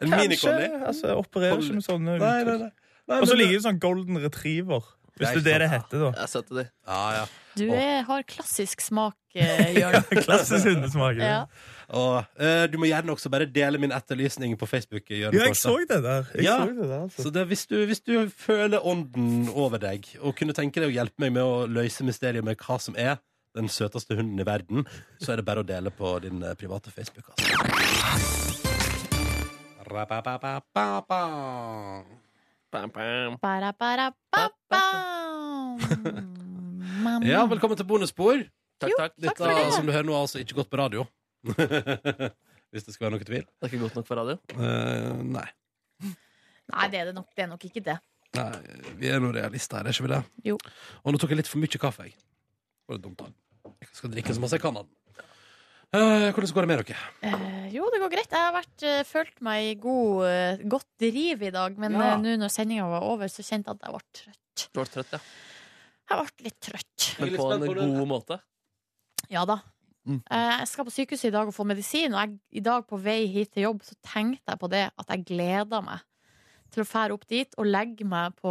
En Kanskje, minicollie? altså, jeg opererer ikke med Nei, sånne nei, uttrykk. nei. nei Og så men- ligger det sånn golden retriever, Det hvis er det er det det sant. heter. da Jeg er søt til de. Ja, ja. Du er, har klassisk smak, eh, Jørn. Klassisk hundesmak. det. Ja. Og, eh, du må gjerne også bare dele min etterlysning på Facebook. Jørn Ja, jeg Kårstad. så det der. Jeg Ja. så det der altså. Så det, hvis, du, hvis du føler ånden over deg, og kunne tenke deg å hjelpe meg med å løse mysteriet med hva som er den søteste hunden i verden, så er det bare å dele på din eh, private Facebook. Altså. Ra-ba-ba-ba-ba-ba. Bam, bam. Bæra, bæra, ba, bam. Mamma. Ja, velkommen til bonusspor. Takk, takk. Dette for det. har, som du hører nå, har altså ikke gått på radio. hvis det skal være noe tvil. Det er ikke godt nok for radio. Eh, nei. Nei, det er, det, nok, det er nok ikke det. nei. Vi er nå realister her, er ikke vi det? Jo. Og nå tok jeg litt for mye kaffe, jeg. Det var litt dumt, da. Jeg skal drikke så masse jeg kan av den. Eh, hvordan går det med dere? Eh, jo, det går greit. Jeg har vært, eh, følt meg i god, eh, godt driv i dag, men Ja. eh, nå når sendinga var over, så kjente jeg at jeg ble trøtt. Du var trøtt, ja. Jeg ble litt trøtt. Jeg er Men litt på en spent på den. god måte. Ja da. Mm. Eh, Jeg skal på sykehuset i dag og få medisin, og jeg, i dag på vei hit til jobb så tenkte jeg på det at jeg gleder meg til å fære opp dit og legge meg på,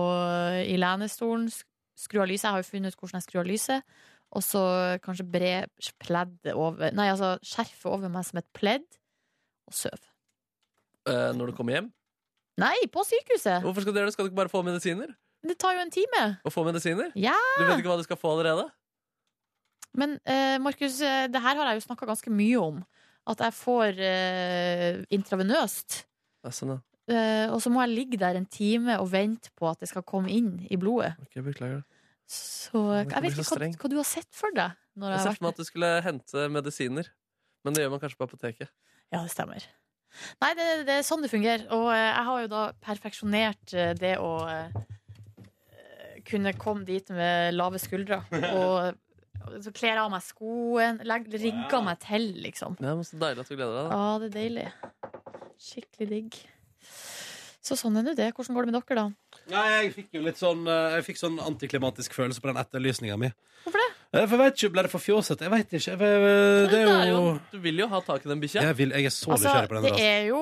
i lenestolen, sk- skru av lyset. Jeg har jo funnet ut hvordan jeg skrur av lyset. Og så kanskje bre pleddet over Nei, altså skjerfet over meg som et pledd, og sove. Eh, når du kommer hjem. Nei, på sykehuset! Hvorfor skal du gjøre det? Skal du ikke bare få medisiner? Det tar jo en time. Og få medisiner? Ja. Du vet ikke hva du skal få allerede? Men eh, Markus, eh, det her har jeg jo snakka ganske mye om. At jeg får eh, intravenøst. Ja, sånn, ja. Eh, og så må jeg ligge der en time og vente på at det skal komme inn i blodet. Ok, beklager. Så det jeg blir vet ikke så hva, streng. hva du har sett for deg. Når Jeg jeg ser har for meg vært... at du skulle hente medisiner. Men det gjør man kanskje på apoteket. Ja, det stemmer. Nei, det, det er sånn det fungerer. Og eh, jeg har jo da perfeksjonert eh, det å eh, kunne komme dit med lave skuldre. Og, og så kler jeg av meg skoen, legg- rigger meg til, liksom. Ja, men så deilig at du gleder Ja, deg. Da. det er deilig. Skikkelig digg. Så sånn er nå det. Hvordan går det med dere, da? Nei, jeg fikk jo litt sånn eh, Jeg fikk sånn antiklimatisk følelse på den etterlysninga mi. Hvorfor det? Eh, For jeg vet ikke, ble det for fjåsete? Jeg vet ikke. Jeg- Det er jo Du vil jo ha tak i den bikkja. Jeg, vil, jeg er så Altså, nysgjerrig på den det rasen. er jo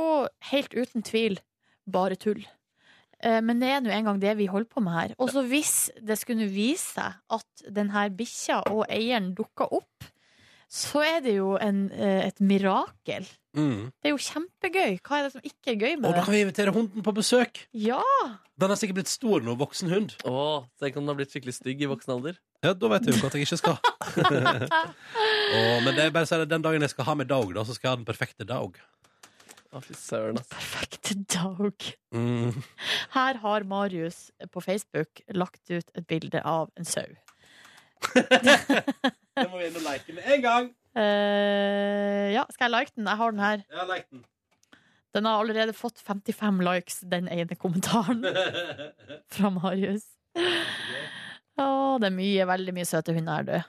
helt uten tvil bare tull. Eh, Men det er nå engang det vi holder på med her. Og så hvis det skulle vise seg at denne bikkja og eieren dukker opp, så er det jo en, eh, et mirakel. Mm. Det er jo kjempegøy. Hva er det som ikke er gøy Og med da det? kan vi invitere hunden på besøk. Ja! Den er sikkert blitt stor nå, voksen hund. Å, tenk om den har blitt skikkelig stygg i voksen alder. Ja, da vet jeg jo at jeg ikke skal. Å, men det er bare å si det, den dagen jeg skal ha med dog, da, så skal jeg ha den perfekte dog. Å, fy søren, ass. Perfekt dag. Mm. Her har Marius på Facebook lagt ut et bilde av en sau. Det må vi inn og leke med en gang. Eh, ja, skal jeg like den? Jeg har den her. Jeg har lekt den. Den har allerede fått 55 likes, den ene kommentaren fra Marius. Å, det er mye, veldig mye søte hunder her, du.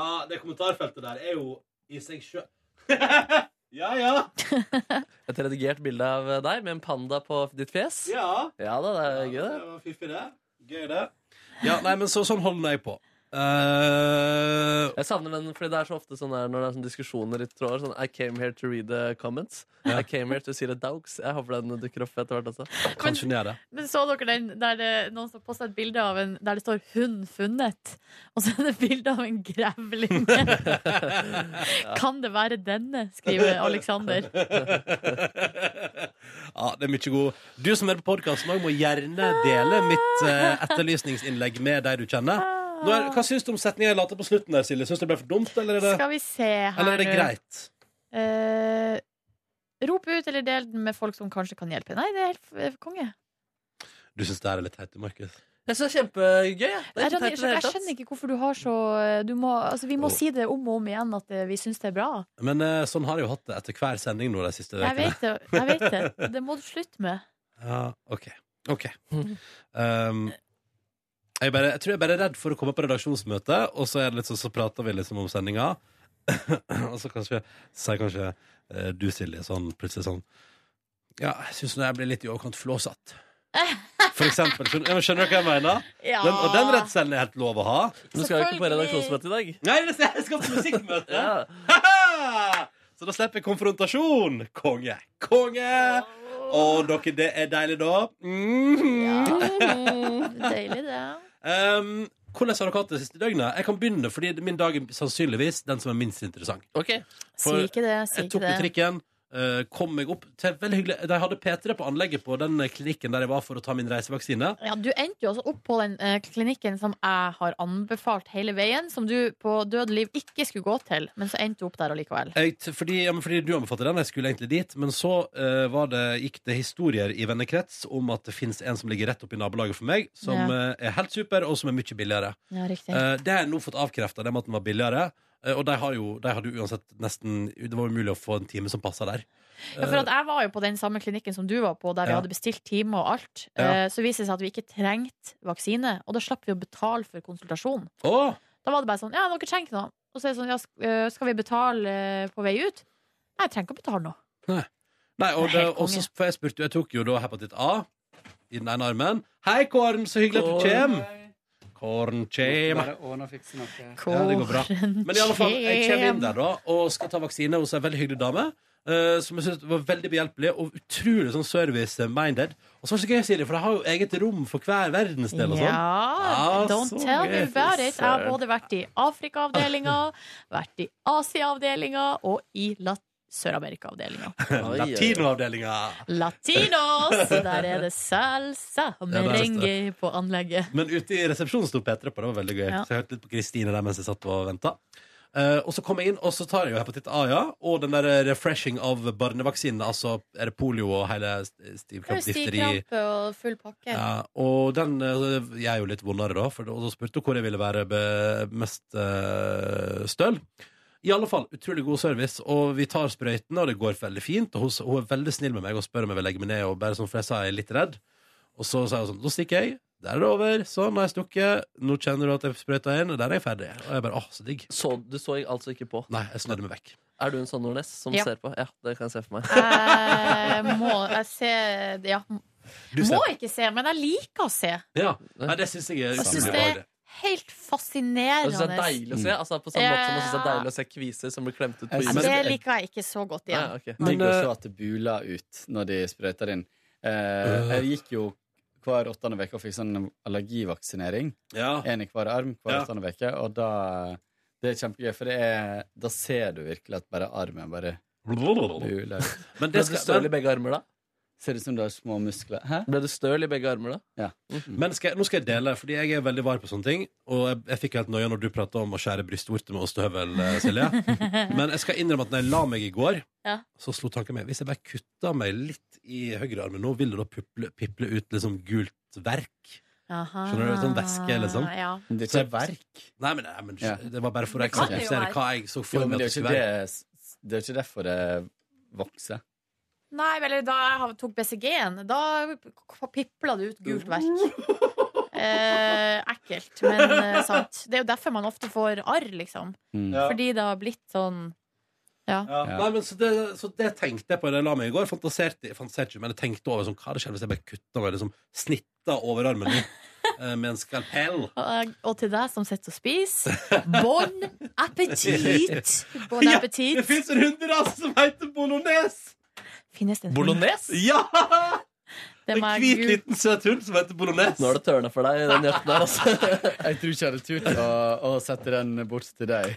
Ja, det kommentarfeltet der er jo i seg sjøl Ja, ja. Et redigert bilde av deg med en panda på ditt fjes. Ja. Ja da, det er gøy, det. var fiffig, det. Gøy, det. Ja, nei, men så, sånn holder jeg på. Eh, Jeg savner den, fordi det er så ofte sånn der, når det er sånn diskusjoner i tråder. Sånn, I came here to read the comments. Ja. I came here to see the dogs. Jeg håper den dukker opp etter hvert også. kanskje den gjør det. Men så dere den der det, noen som posta et bilde av en der det står 'hund funnet', og så er det bilde av en grevling? Kan det være denne, skriver Aleksander. ja, det er mye god Du som er på podkasten òg, må gjerne dele mitt eh, etterlysningsinnlegg med de du kjenner. Nå er, hva syns du om setninga jeg la til på slutten der, Silje? Syns du det ble for dumt, eller er det, Skal vi se her eller er det nå. greit? Eh, rop ut eller del den med folk som kanskje kan hjelpe. Nei, det er helt f- konge. Du syns det her er litt teit, du, Markus? Jeg synes det er kjempegøy. jeg. Det Jeg, er ikke skjønner- teit i det jeg hele skjønner tatt. ikke hvorfor du har så du må, altså, Vi må Åh. si det om og om igjen at eh, vi syns det er bra. Men eh, sånn har jeg jo hatt det etter hver sending nå de siste Jeg ukene. vet det. Jeg vet det. det må du slutte med. Ja, OK. OK. Um, jeg, bare, jeg tror jeg bare er redd for å komme på redaksjonsmøte, og så, er det litt sånn, så prater vi liksom om sendinga. og så kanskje, sier kanskje eh, du, Silje, sånn plutselig sånn Ja, jeg syns jeg blir litt i overkant flåsete. For eksempel. Skjønner, ja, men skjønner du hva jeg mener? Ja. Den, og den redselen er helt lov å ha. Du skal jo ikke på Selvfølgelig. redaksjonsmøte i dag. Nei, det skal jeg skal på musikkmøte! Ja. så da slipper jeg konfrontasjon. Konge. Konge! Og dere, det er deilig, da. Mhm. Mm, Deilig, det. Um, hvordan har dere hatt det siste døgnet? Jeg kan begynne, fordi min dag er sannsynligvis den som er minst interessant. Ok, Si For ikke det. Si Jeg tok ikke med det. trikken, eh, kom meg opp til veldig hyggelig De hadde P3 på anlegget på den klinikken der jeg var for å ta min reisevaksine. Ja, du endte jo også opp på den eh, klinikken som jeg har anbefalt hele veien, som du på død liv ikke skulle gå til, men så endte du opp der allikevel. Jeg, t- fordi, ja, men fordi du anbefalte den, jeg skulle egentlig dit, men så eh, var det, gikk det historier i vennekrets om at det fins en som ligger rett oppe i nabolaget for meg, som eh, er helt super, og som er mye billigere. Ja, riktig. Eh, det har jeg nå fått avkrefta, det med at den var billigere. Eh, og de, har jo, de hadde jo uansett nesten Det var umulig å få en time som passa der. Ja, for at jeg var jo på den samme klinikken som du var på, der vi Ja. hadde bestilt time og alt. Ja. Eh, Så viste det seg at vi ikke trengte vaksine, og da slapp vi å betale for konsultasjon. Åh! Da var det bare sånn, ja, dere trenger ikke noe. Og så er det sånn, ja, sk- eh, skal vi betale eh, på vei ut? Nei, jeg trenger ikke å betale noe. Nei, og, Det er det, helt og så, for jeg spurte jo, jeg tok jo da hepatitt A i den ene armen. Hei, Kåren, så hyggelig at du kjem! Kåren kjem. Ja, det går bra. Men i alle fall, jeg kommer inn der da og skal ta vaksine hos ei veldig hyggelig dame. eh, som jeg synes var veldig behjelpelig og utrolig sånn service-minded. Og så var det så gøy, Silje, for de har jo eget rom for hver verdensdel og sånn. Ja, Ah, don't så tell me gøy. about it. Jeg har Søren. både vært i Afrika-avdelinga, vært i Asia-avdelinga og i Lat- Sør-Amerika-avdelinga. Oi, oi, oi. Latinoavdelinga. Latinos! Der er det salsa merengue på anlegget. Men ute i resepsjonen sto P3 på, det var veldig gøy. Ja. Så jeg hørte litt på Kristine der mens jeg satt og venta. og så kom jeg inn, og så tar jeg jo hepatitt A, ja. Og den der refreshing av barnevaksinen, altså er det polio og hele st- stivkramp, difteri Stivkrampe og full pakke. ja, Og den eh, gjør jo litt vondere, da, for da- og da spurte hun hvor jeg ville være be, mest eh, støl. I alle fall, utrolig god service, og vi tar sprøytene, og det går veldig fint. Og hun, s- hun er veldig snill med meg og spør om jeg vil legge meg ned, og bare sånn, for jeg sa jeg er litt redd. Og så sa hun sånn, nå stikker jeg. Der er det over. Sånn, nå har jeg stukket. Nå kjenner du at jeg sprøyta inn, og der er jeg ferdig. Og jeg bare, åh, så digg. Så du så altså ikke på. Nei, jeg snødde meg vekk. Er du en sånn Nordnes som Ja. ser på? Ja, det kan jeg se for meg. Jeg må jeg ser, ja, Du må ser. ikke se, men jeg liker å se. Ja. Nei, det syns jeg er Jeg syns utrolig det bra. er helt Jeg synes det fascinerende. er deilig å se, altså på samme måte som jeg synes det er Ja. deilig å se kviser som blir klemt ut på Jeg Ja, gymmen. synes- Det liker jeg ikke så godt igjen. Nei, ok. Men, Digg å eh, se at det buler ut når de sprøyter inn. Eh, jeg gikk jo hver åttende uke og fikk sånn allergivaksinering. Ja. Én i hver arm hver Ah. Ja. åttende uke. Og da Det er kjempegøy, for det er, da ser du virkelig at bare armen bare Men buler ut. det Ble du skal, støl i begge armer da? Ser ut som du har små muskler. Hæ? Ble du støl i begge armer da? Men skal jeg, nå skal jeg dele, fordi jeg er veldig var på sånne ting. Og jeg, jeg fikk helt nøye når du prata om å skjære brystvorter med ostehøvel, eh, Silje. Men jeg skal innrømme at når jeg la meg i går, Ja. så slo tanken meg Hvis jeg bare kutta meg litt i høyrearmen nå, vil det da puple, piple ut liksom gult verk? Aha. Skjønner du, sånn væske, liksom. Ja. Men Det er ikke verk. Nei, men, nei, men Ja. det var bare for å Det kan det jo eksemplifisere være. hva jeg så Jo, for men meg at det det er jo skulle ikke, være. det, det er ikke derfor det vokser. Nei, vel, da jeg har- tok BCG-en, da pipla det ut gult verk. Eh, ekkelt, men eh, sant. Det er jo derfor man ofte får arr, liksom. Mm. Ja. Fordi det har blitt sånn Ja. Ja. Nei, men så det, så det tenkte jeg på da jeg la meg i går. Fantaserte, fantaserte ikke, men jeg tenkte over sånn, hva hadde skjedd hvis jeg bare kutta meg, liksom snitta overarmen min eh, med en skalpell. Og eh, og til deg som sitter og spiser, bon appétit! Bon Ja, appétit. Det fins en hunderase som heter bolognese! Finnes det en Bolognese? Ja! Det En må jeg hvit, google. liten, søt hund som heter bolognese. Nå er det tørnet for deg i den hjerten der altså. Jeg tror ikke jeg hadde turt å, å sette den bort til deg.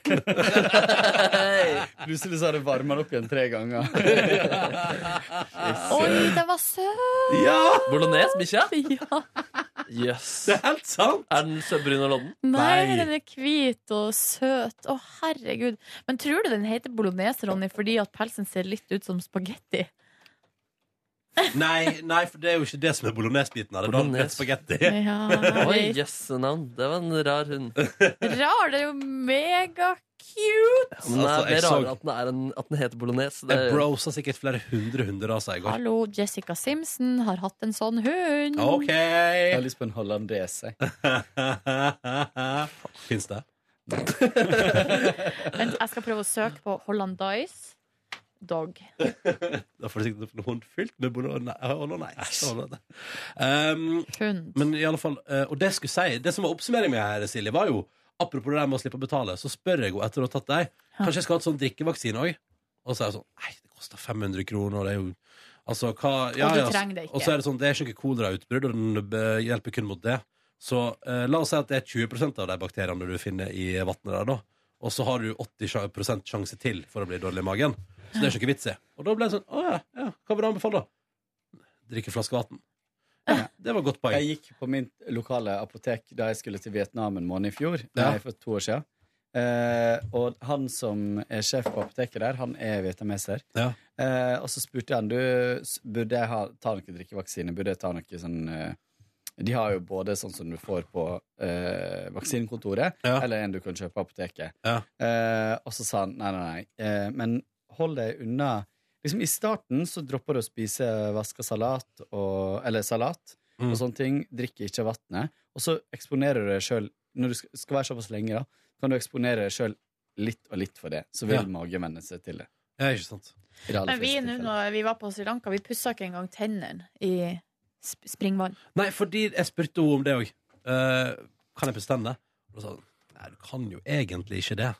Plutselig så har det varma opp igjen tre ganger. Oi, den var søt! Ja, Bolognese, bikkja? Ja. Yes det er helt sant! Er den så brun og lodden? Nei, Nei. den er hvit og søt. Å, herregud. Men tror du den heter bolognese, Ronny, fordi at pelsen ser litt ut som spagetti? Nei, nei, for det er jo ikke det som er bolognesbiten av det. Da er det Bolognese. spagetti. Ja, Oi, nei. yes, navn Det var en rar hund Rar, det er jo mega cute! Men det Altså, er jeg mer så- rarere at den, er en, at den heter bolognese. Det Jeg er- brosa sikkert flere hundre hunderaser i går. Hallo, Jessica Simpson har hatt en sånn hund. OK! Jeg har lyst på en hollandes. jeg. Fins det? Vent, jeg skal prøve å søke på Hollandice dog. Da får du sikkert en hund fylt med bolognese. Um, Hund. Men i alle fall, eh, og det skulle jeg si Det som var oppsummeringen min her, Silje, var jo Apropos det der med å slippe å betale, så spør jeg henne etter å ha tatt deg Kanskje jeg skal ha et sånn drikkevaksine òg? Og så er jeg sånn Nei, det koster 500 kroner, og det er jo Altså, hva ja, Og du ja, så- trenger det ikke. Og så er det sånn, det er ikke noe kolerautbrudd, og den eh, hjelper kun mot det. Så eh, la oss si at det er 20 av de bakteriene du finner i vannet der, da. Og så har du 80 sjanse til for å bli dårlig i magen. Så det er ikke noe vits i. Og da ble jeg sånn Å ja, ja, hva vil du anbefale, da? Drikke en flaske vann. Ja, det var et godt poeng. Jeg gikk på min lokale apotek da jeg skulle til Vietnam en måned i fjor. Ja. Nei, for to år siden. Eh, og han som er sjef på apoteket der, han er vietnameser. Ja. Eh, og så spurte han du, s- burde jeg ha, ta noe drikkevaksine. Burde jeg ta noe sånn eh, De har jo både sånn som du får på eh, vaksinekontoret, Ja. eller en du kan kjøpe på apoteket. Ja. Eh, og så sa han nei, nei, nei. Eh, men hold deg unna Liksom I starten så dropper du å spise vaska salat og, eller salat Mm. og sånne ting. Drikker ikke vannet. Og så eksponerer du deg sjøl Når du sk- skal være såpass lenge, da, kan du eksponere deg sjøl litt og litt for det. Så vil Ja. magen venne seg til det. Ja, ikke sant. I det aller Men vi, fleste nå tilfeller. når vi var på Sri Lanka, vi pussa ikke engang tennene i sp springvann. Nei, fordi jeg spurte henne om det òg. kan jeg bestemme? Og så sa hun nei, du kan jo egentlig ikke det.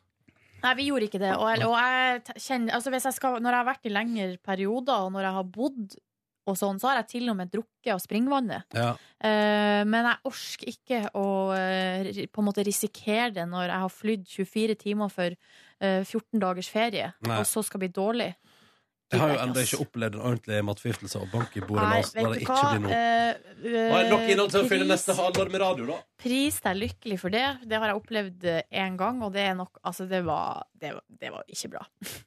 Nei, vi gjorde ikke det. Og, jeg- og jeg t- kjenner, altså hvis jeg skal, når jeg har vært i lengre perioder, og når jeg har bodd og sånn, så har jeg til og med drukket av springvannet. Ja. Eh, men jeg orker ikke å eh, ri- på en måte risikere det når jeg har flydd 24 timer for eh, 14 dagers ferie, Nei. og så skal bli dårlig. Jeg har jo Gidder ennå ass. ikke opplevd en ordentlig matforgiftelse og bank i bordet Nei, la oss vet når det du ikke hva? blir noe. Eh, Og er det nok innhold til å fylle pris- neste halvår med radio, da. Pris deg lykkelig for det. Det har jeg opplevd én gang, og det er nok Altså, det var, det var, det var ikke bra.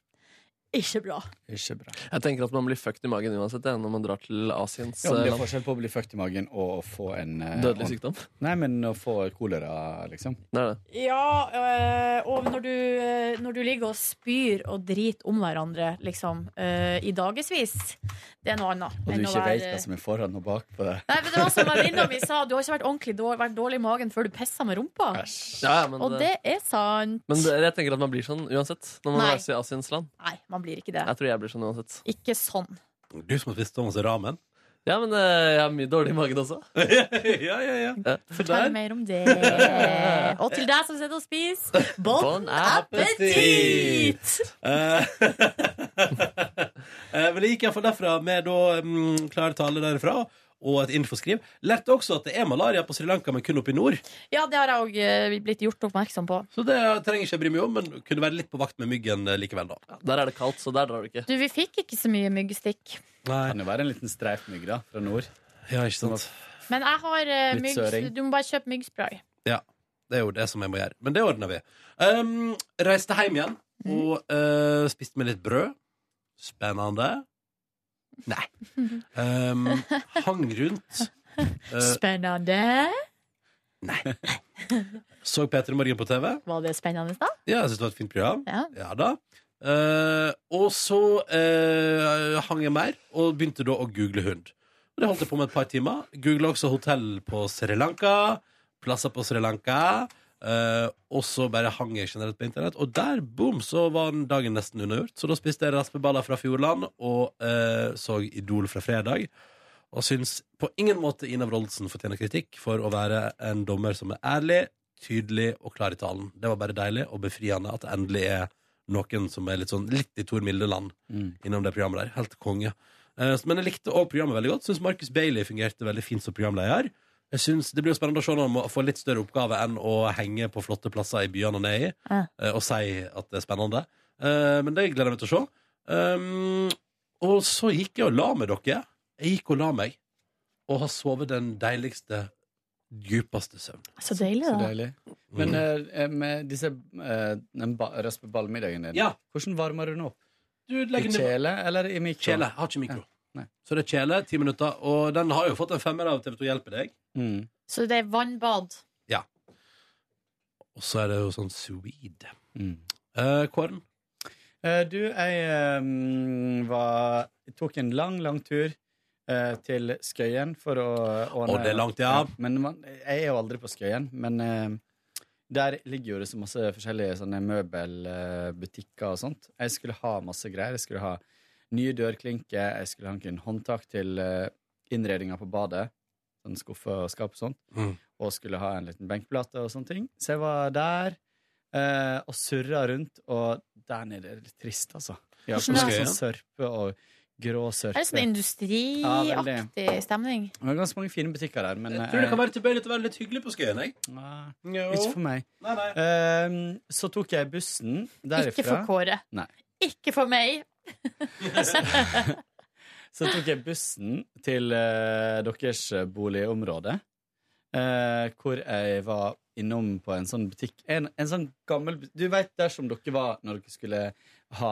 ikke bra. Ikke bra. Jeg tenker at man blir fucked i magen uansett det, når man drar til Asiens Ja, men det eh, er land. forskjell på å bli født i magen og å få en eh, Dødelig ordentlig- sykdom. Nei, men å få kolera, liksom. Det er det. Ja, øh, og når du, øh, når du ligger og spyr og driter om hverandre, liksom, øh, i dagevis, det er noe annet. Og du enn å ikke være- vet hva som er foran og bak på det. Nei, men det var som venninna mi sa, du har ikke vært ordentlig dår, vært dårlig i magen før du pissa med rumpa. sånn Ja, ja, men, Og det er sant. men det, jeg tenker at man blir sånn uansett når man Nei. reiser i Asiens land. Nei, man blir ikke det. Jeg tror jeg blir sånn uansett. Ikke sånn. Du som har spist Thomas Ramen. Ja, men eh, jeg har mye dårlig i magen også. ja, ja, ja. Ja. For Fortell der mer om det. Og til deg som sitter og spiser, bon Bon appétit! Eh, eh, Men det gikk iallfall derfra med da mm, klar tale derfra. og et infoskriv. Lærte også at det er malaria på Sri Lanka, men kun oppe i nord. Ja, det har jeg òg eh, blitt gjort oppmerksom på. Så det trenger ikke jeg bry meg om, men kunne være litt på vakt med myggen eh, likevel, da. Der er det kaldt, så der drar du ikke. Du, vi fikk ikke så mye myggstikk. Nei, Kan jo være en liten streifmygg da, fra nord. ja, ikke sant. Men jeg har eh, Litt mygg... søring. Du må bare kjøpe myggspray. Det er jo det som jeg må gjøre. Men det ordner vi. Um, reiste hjem igjen og eh, spiste med litt brød. Spennende. Nei. Um, hang rundt. Eh, Spennende. så Peter i morgen på TV. Var det spennende, da? Ja, jeg synes det var et fint program. Ja. da. Eh, og så eh, hang jeg mer, og begynte da å google hund. Og det holdt jeg på med et par timer. Googla også hotell på Sri Lanka, plasser på Sri Lanka. eh, og så bare hang jeg generelt på internett, og der, boom, så var den dagen nesten unnagjort. Så da spiste jeg raspeballer fra Fjordland og eh, så Idol fra fredag. Og syns på ingen måte Ina Wroldsen fortjener kritikk for å være en dommer som er ærlig, tydelig og klar i talen. Det var bare deilig og befriende at det endelig er noen som er litt sånn litt i Tor Milde-land Mm. innom det programmet der. Helt konge. Eh, Men jeg likte òg programmet veldig godt. Syns Marcus Bailey fungerte veldig fint som programleder. Jeg synes Det blir jo spennende å se når han må få litt større oppgave enn å henge på flotte plasser i byene han er i, Ja. eh, og si at det er spennende. Eh, Men det gleder jeg meg til å se. Um, Og så gikk jeg og la meg, dere. Jeg gikk og la meg, og har sovet den deiligste, dypeste søvn. Så deilig, Så da. deilig. Mm. Men eh, med disse eh, den ba raspeballmiddagen din, Ja. hvordan varmer du den opp? du I legger ned kjele eller i mikro? Kjele. Har ikke mikro. Nei. Så det er kjele, ti minutter. Og den har jo fått en femmer av TV2 Hjelper deg. Mm. Så det er vannbad. Og så er det jo sånn sweet. Mm. Eh, korn. Eh, du, jeg eh, var Tok en lang, lang tur eh, til Skøyen for å ordne Å, det er langt, ja. Men man, jeg er jo aldri på Skøyen, men eh, der ligger jo det så masse forskjellige sånne møbelbutikker og sånt. Jeg skulle ha masse greier. Jeg skulle ha nye dørklinker, jeg skulle ha en håndtak til eh, innredninga på badet. Sånn skuffe og skap og sånt. Mm. Og skulle ha en liten benkplate og sånne ting. Så jeg var der eh, og surra rundt, og der nede er det litt trist, altså. Ja, Hvordan er det? sånn sørpe og Er grå det sånn sørpe. Ja, industriaktig stemning? Det var ganske mange fine butikker der, men Jeg tror det kan være tilbøyelig til å være litt hyggelig på Skøyen. Jeg. eh, nei, ikke Ikke for meg. for- Nei, nei. Eh, så tok jeg bussen derifra. Ikke for Kåre. Nei. Ikke for meg. Så tok jeg bussen til eh, deres boligområde, eh, hvor jeg var innom på en sånn butikk. En, en sånn gammel bu- Du veit dersom dere var når dere skulle ha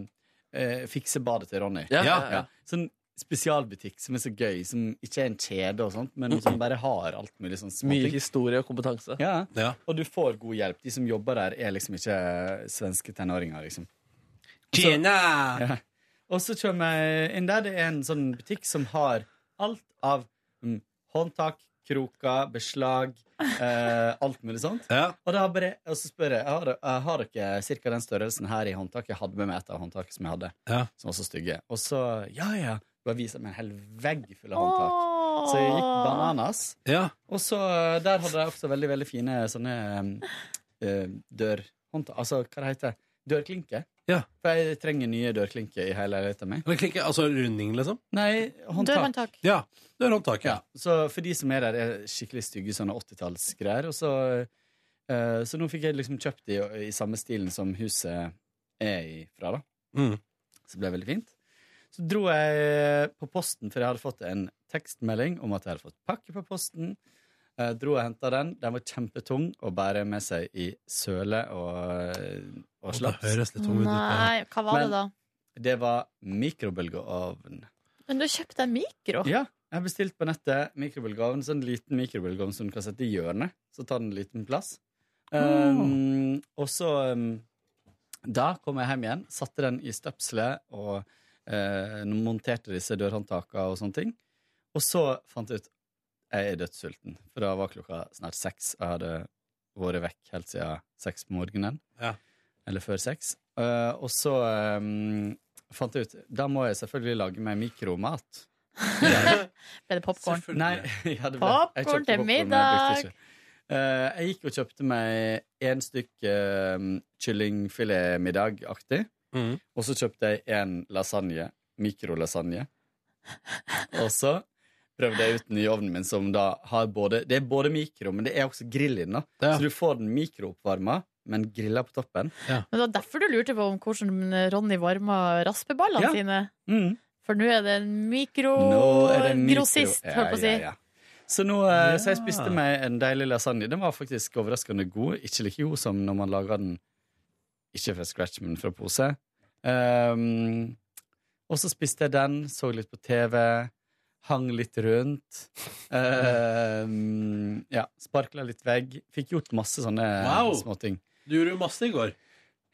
eh, fikse badet til Ronny. Ja, ja, Ja, ja. Sånn spesialbutikk som er så gøy, som ikke er en kjede og sånt, men som bare har alt mulig sånn Mye småting. historie og kompetanse. Ja. Ja. Og du får god hjelp. De som jobber der, er liksom ikke svenske tenåringer, liksom. Gina! Ja. Og så kommer jeg inn der. Det er en sånn butikk som har alt av mm, håndtak, kroker, beslag, eh, alt mulig sånt. Ja. Og, da bare, og så spør jeg har, eh, har dere cirka den størrelsen her i håndtaket. Jeg hadde med meg et av håndtakene som jeg hadde, Ja. som var så stygge. Og så ja, ja. Bare viser meg en hel vegg full av håndtak. Åh. Så jeg gikk bananas. Ja. Og så eh, der hadde de også veldig, veldig fine sånne eh, dørhåndtak Altså, hva det heter det? Dørklinke. Ja. For jeg trenger nye dørklinker i hele leiligheten min. Men klikke, altså runding, liksom? Nei, håndtak. Dørhåndtak. Ja. Det er håndtaket. Ja. Så for de som er der, er skikkelig stygge sånne 80-tallsgreier. Og så, eh, så nå fikk jeg liksom kjøpt de i samme stilen som huset er ifra, da. Mm. Så det ble veldig fint. Så dro jeg eh, på posten, for jeg hadde fått en tekstmelding om at jeg hadde fått pakke på posten. Eh, dro og henta den. Den var kjempetung å bære med seg i søle og, eh, og Og det slaps. høres litt tung ut. dette. Nei, hva var Men- det da? Det var mikrobølgeovn. Men du kjøpte en mikro? Ja, jeg har bestilt på nettet mikrobølgeovn. Sånn liten mikrobølgeovn som du kan sette i hjørnet. Så tar den en liten plass. Um, og så um, Da kom jeg hjem igjen, satte den i støpselet og eh, monterte disse dørhåndtakene og sånne ting. Og så fant jeg ut jeg er dødssulten, for da var klokka snart seks. Jeg hadde vært vekk helt siden seks på morgenen. Ja. Eller før seks. Eh, og så um, fant jeg ut Da må jeg selvfølgelig lage meg mikromat. Ble det popkorn? Selvfølgelig. Nei, jeg hadde Popcorn jeg til kjøpte popcorn, men jeg middag. brukte ikke. Eh, jeg gikk og kjøpte meg en stykk uh, kyllingfilet-middagaktig. Mm. Og så kjøpte jeg en lasagne. Mikrolasagne. Og så prøvd det ut den i ovnen min, som da har både Det er både mikro, men det er også grill i den. da Ja. Så du får den mikrooppvarma, men grilla på toppen. Men det var derfor du lurte på om hvordan Ronny varma raspeballene Ja. sine. Mm. For nå er det en Nå er det mikro- mikrogrossist, Ja, holdt på å si. ja, ja. Så, nå, eh, så jeg Ja. spiste meg en deilig lasagne. Den var faktisk overraskende god. Ikke like god som når man lager den ikke fra scratch, men fra pose. Ehm, og så spiste jeg den, så litt på TV, hang litt rundt. Um, ja, sparkla litt vegg. Fikk gjort masse sånne Wow. småting. Du gjorde jo masse i går.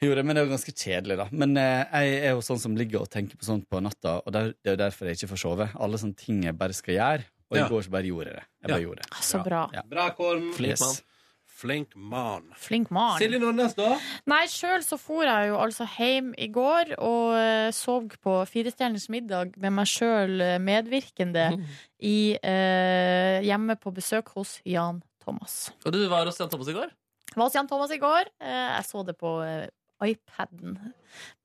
Gjorde, men det var ganske kjedelig, da. Men eh, jeg er jo sånn som ligger og tenker på sånt på natta, og der, det er jo derfor jeg ikke får sove. Alle sånne ting jeg bare skal gjøre. Og Ja. i går så bare gjorde jeg det. Jeg bare Ja. gjorde det. Ah, Så bra. Ja. Bra, Korn. Flink Yes. mann. Flink mann. Flink mann. Silje Nordnes, da? Nei, sjøl så for jeg jo altså hjem i går og eh, sov på Firestjerners middag med meg sjøl eh, medvirkende Mm. i, eh, hjemme på besøk hos Jan Thomas. Og du var hos Jan Thomas i går? Var hos Jan Thomas i går. Eh, jeg så det på eh, iPaden.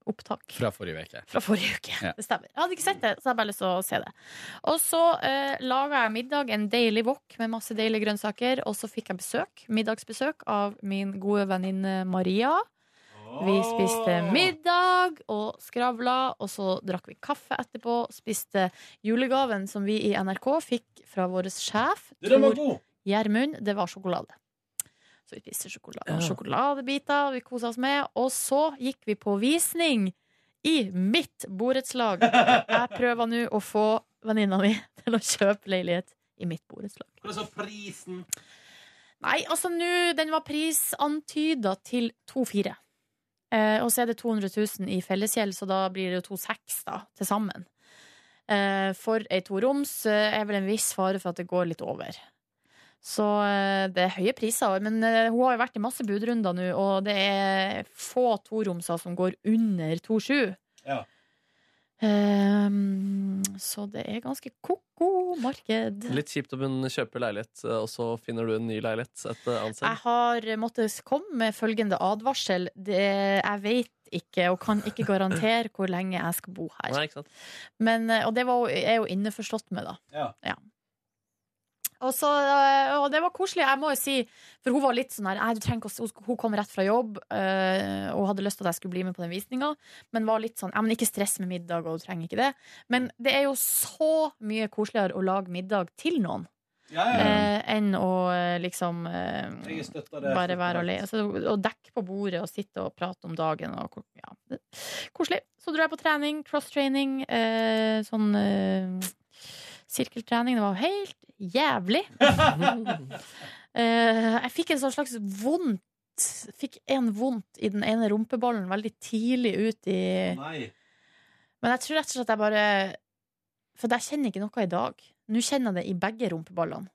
Opptak Fra forrige uke. fra forrige uke. Ja. Det stemmer. Jeg hadde ikke sett det, så jeg hadde bare lyst til å se det. Og så eh, laga jeg middag, en deilig wok med masse deilige grønnsaker, og så fikk jeg besøk, middagsbesøk av min gode venninne Maria. Vi spiste middag og skravla, og så drakk vi kaffe etterpå. Spiste julegaven som vi i NRK fikk fra vår sjef, Du, den var Tor god. Gjermund. Det var sjokolade. Så vi spiste sjokolade, Ja. sjokoladebiter, vi kosa oss med. Og så gikk vi på visning i mitt borettslag. Jeg prøver nå å få venninna mi til å kjøpe leilighet i mitt borettslag. Hvordan var prisen? Nei, altså nå, den var prisantyda til 2-4. Eh, og så er det 200 000 i fellesgjeld, så da blir det jo 2-6 da, til sammen. Eh, for ei toroms eh, er vel en viss fare for at det går litt over. Så eh, det er høye priser, men eh, hun har jo vært i masse budrunder nå, og det er få toromser som går under 2-7. Ja. Eh, så det er ganske ko-ko marked. Litt kjipt om hun kjøper leilighet, eh, og så finner du en ny leilighet et eh, annet Jeg sted. har måttet komme med følgende advarsel. Det, jeg vet ikke og kan ikke garantere hvor lenge jeg skal bo her. Nei, ikke sant? Men, eh, og det var, jo- er jo innforstått med, da. Ja. Og, så, eh, og det var koselig, jeg må jo si. For hun var litt sånn her «Nei, du trenger ikke å- hun- Hun kom rett fra jobb eh, og hadde lyst til at jeg skulle bli med på den visninga, men var litt sånn «Ja, men ikke stress med middag, og du trenger ikke det. Men det er jo så mye koseligere å lage middag til noen Ja, ja. eh, enn å eh, liksom eh, Jeg støtter det. bare være alene. Så, og dekke på bordet og sitte og prate om dagen. Og, ko- ja. det- Koselig. Så dro jeg på trening, cross-training, eh, sånn eh, sirkeltrening. Det var helt jævlig. Eh, jeg fikk en sånn slags vondt Fikk en vondt i den ene rumpeballen veldig tidlig ut i Nei. Men jeg tror rett og slett jeg bare For jeg kjenner ikke noe i dag. Nå kjenner jeg det i begge rumpeballene.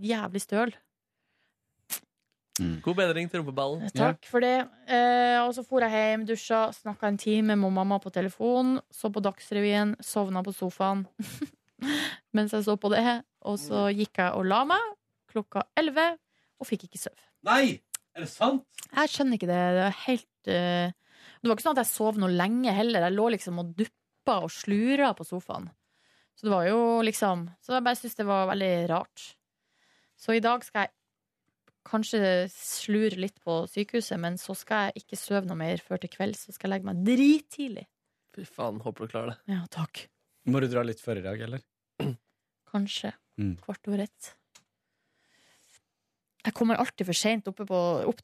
Jævlig støl. God bedring til rumpeballen. Takk for det. Eh, og så for jeg hjem, dusja, snakka en time med mamma på telefon, så på Dagsrevyen, sovna på sofaen mens jeg så på det. Og så Mm. gikk jeg og la meg klokka elleve og fikk ikke sove. Nei! Er det sant? Jeg skjønner ikke det. Det er helt eh, Det var ikke sånn at jeg sov noe lenge heller. Jeg lå liksom og duppa og slura på sofaen. Så det var jo liksom Så jeg bare syns det var veldig rart. Så i dag skal jeg kanskje slure litt på sykehuset, men så skal jeg ikke sove noe mer før til kvelds. Så skal jeg legge meg drittidlig. Fy faen, håper du klarer det. Ja, takk. Må du dra litt før i dag, eller? Kanskje. Mm. Kvart over ett. Jeg kommer alltid for seint opp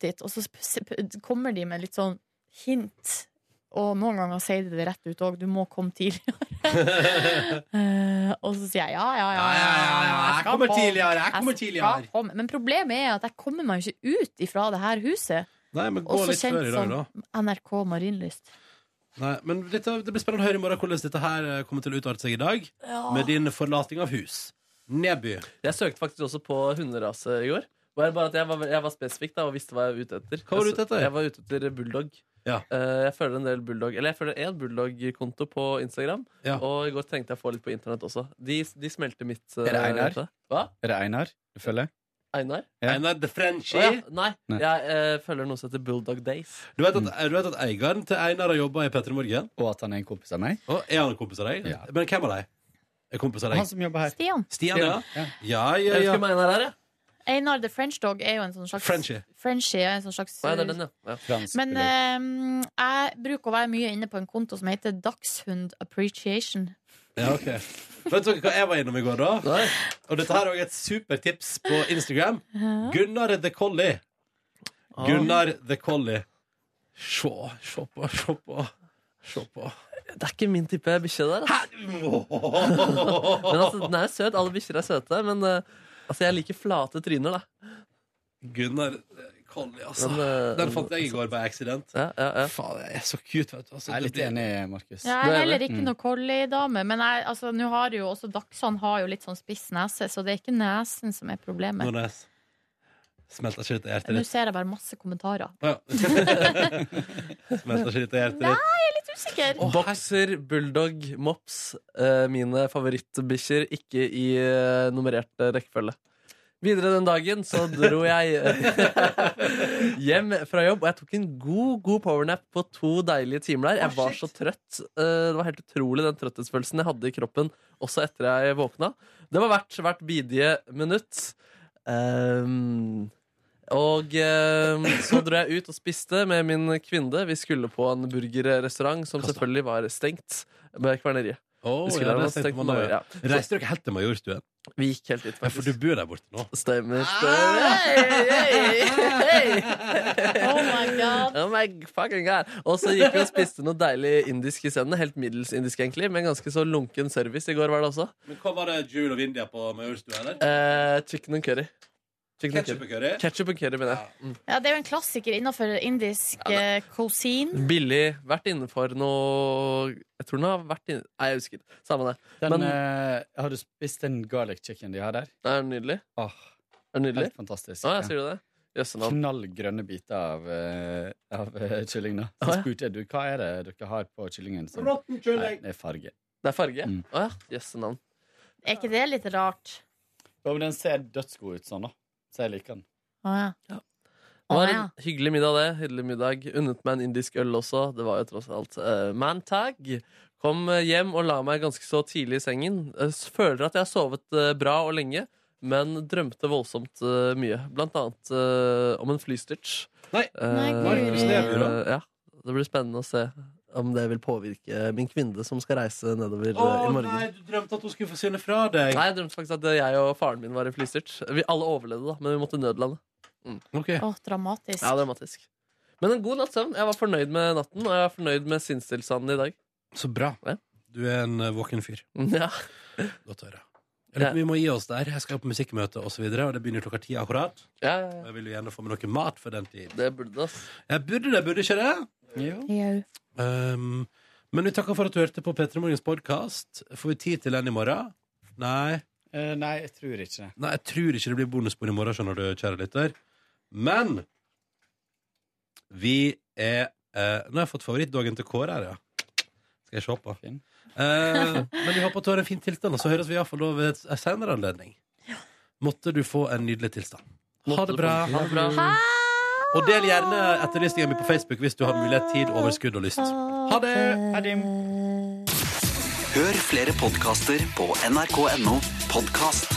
dit, og så sp- sp- kommer de med litt sånn hint. Og noen ganger sier de det rett ut òg. Du må komme tidligere. Eh, og så sier jeg ja, ja, ja. ja, ja, ja, skal komme. Jeg kommer skal tidligere. komme. Men problemet er at jeg kommer meg jo ikke ut ifra det her huset. Nei, men gå Også litt kjent før i dag, som- da. NRK Marinlyst. Nei, men dette, det blir spennende å høre i morgen hvordan dette her eh, kommer til å utarte seg i dag. Med din forlating av hus. Nedby. Jeg søkte faktisk også på hunderase i går. Bare bare at jeg var, jeg var spesifikk da, og visste hva jeg var ute etter. Hva var du ute etter? Jeg var ute etter bulldog. Ja. Eh, jeg følger en del bulldog Eller jeg følger én bulldog-konto på Instagram. Ja. Og i går tenkte jeg å få litt på internett også. De, de smelter mitt eh, Er det Einar? hjerte. Hva? Er det Einar du følger? Einar? Ja. Einar the Frenchy. Å, ja. Nei, Nei. jeg eh, følger noe som heter Bulldog Days. Du vet at, eh, du vet at eieren til Einar har jobba i P3 Morgen? Og at han er en kompis av meg? Og er han en kompis av deg? Ja. Men hvem av deg? Er kompis av Han deg? som jobber her. Stian. Stian, ja. Ja. Ja, ja, Jeg ja. husker Meinar her, jeg. Einar the French Dog er jo en sånn slags Frenchie. Frenchie er en sånn slags Å, ja, det er den, ja. ja. Fransk Men pilot. eh, jeg bruker å være mye inne på en konto som heter Dagshund Appreciation. ja ok. Vet dere hva jeg var innom i går, da? Nei. Og dette her er også et supertips på Instagram. Gunnar the Collie. Ah. Gunnar the Collie. Se, se på, se på. Se på. Det er ikke min type bikkje der. Altså. Men altså, den er jo søt. Alle bikkjer er søte. Men eh, altså, jeg liker flate tryner, da. Gunnar eh, Collie, altså. Men, eh, Den fant jeg i går by accident. Ja, ja, ja. Faen, jeg er så cute, vet du. Altså, Jeg er det litt blir- enig, Markus. Jeg Det er er heller det. ikke noe collie-dame, men jeg, altså, nå har jo også Dagshund har jo litt sånn spiss nese, så det er ikke nesen som er problemet. Nordnes. Smelter ikke ut i hjertet Nå ditt. ser jeg bare masse kommentarer. Å, ja. Smelter ikke ut i hjertet ditt. Usikker! Å, Bokser, bulldog, mops. eh, mine favorittbikkjer, ikke i eh, nummerert eh, rekkefølge. Videre den dagen så dro jeg eh, hjem fra jobb, og jeg tok en god god powernap på to deilige timer der. Jeg var så trøtt. eh, det var helt utrolig den trøtthetsfølelsen jeg hadde i kroppen også etter jeg våkna. Det var verdt hvert bidige minutt. Ehm, og ehm, så dro jeg ut og spiste med min kvinne. Vi skulle på en burgerrestaurant som selvfølgelig var stengt med kverneriet. Å, Vi skulle ja, ha det stengt tenkte man på da, ja. Majoria. Så Reiste dere helt til Majorstuen? vi gikk helt dit, Ja, for du Ah, faktisk. bor der borte nå? Stemmer, stemmer. Oh my god. Oh my fucking god Og så gikk vi og spiste noe deilig indisk i stedet. Helt middels indisk, egentlig, med ganske så lunken service i går, var det også. Men Hva var det Jul og India på Majorstuen? eller? Eh, chicken and curry. Chicken and Ketchup curry. og curry? Ketchup and curry, mener jeg. Mm. Ja, det er jo en klassiker innenfor indisk eh, cuisine. Billig. Vært innenfor noe Jeg tror den har vært inne Nei, jeg husker. ikke. Samme det. Den, Men- eh, har du spist den garlic chicken de har der? Er den nydelig? Åh, Er den nydelig? helt fantastisk. Å, Ja. jeg sier du det? Jøssenavn. Knallgrønne biter av, eh, av eh, kylling. Da. Å, Så ja. spurte jeg du, hva er det dere har på kyllingen. som- Rotten Nei, kylling! det er farge. Det er farge. Mm. Å ja. Jøssenavn. Er ikke det litt rart? Ja, men den ser dødsgod ut sånn, da. Så jeg liker den. Å ja. Det Å var ja. en hyggelig middag, det. Hyggelig middag. Unnet meg en indisk øl også. Det var jo tross alt uh, mantag. Kom eh, hjem og la meg ganske så tidlig i sengen. Eh, s- føler at jeg har sovet eh, bra og lenge, men drømte voldsomt eh, mye. Blant annet eh, om en flystyrt. Nei. Nei, Eh, Markus Neby, da. eh, ja. Det blir spennende å se om det vil påvirke min kvinne som skal reise nedover eh, Å i morgen. nei, du drømte at hun skulle forsvinne fra deg. Nei, jeg drømte faktisk at jeg og faren min var i flystyrt. Vi alle overlevde, da, men vi måtte nødlande. Ok. Å, dramatisk. Ja, dramatisk. Men en god natts søvn. Jeg var fornøyd med natten, og jeg var fornøyd med sinnstilstanden i dag. Så bra. Ja. Du er en eh, våken fyr. Ja, Godt å høre. Jeg lurer på om Vi må gi oss der. Jeg skal på musikkmøte og så videre og det begynner klokka ti akkurat. ja, Og ja. Jeg vil jo gjerne få meg noe mat for den tid. Det burde det, ass. Jeg burde det, burde ikke det? Jau. Um, men vi takker for at du hørte på P3 Morgens podkast. Får vi tid til den i morgen? Nei. Eh, nei, jeg tror ikke det. Nei, jeg tror ikke det blir bonusbord i morgen, skjønner du, kjære lytter. Men vi er eh, Nå har jeg fått favorittdagen til Kåre her, ja. Skal jeg se på. Fin. Eh, men vi håper at du har en fin tilstand, og så høres vi iallfall ved en senere anledning. Måtte du få en nydelig tilstand. Ha det bra. Ha det bra. Og del gjerne etterlysninga mi på Facebook hvis du har mulighet, tid, overskudd og lyst. Ha det! Eh, Hør flere podkaster på nrk.no podkast.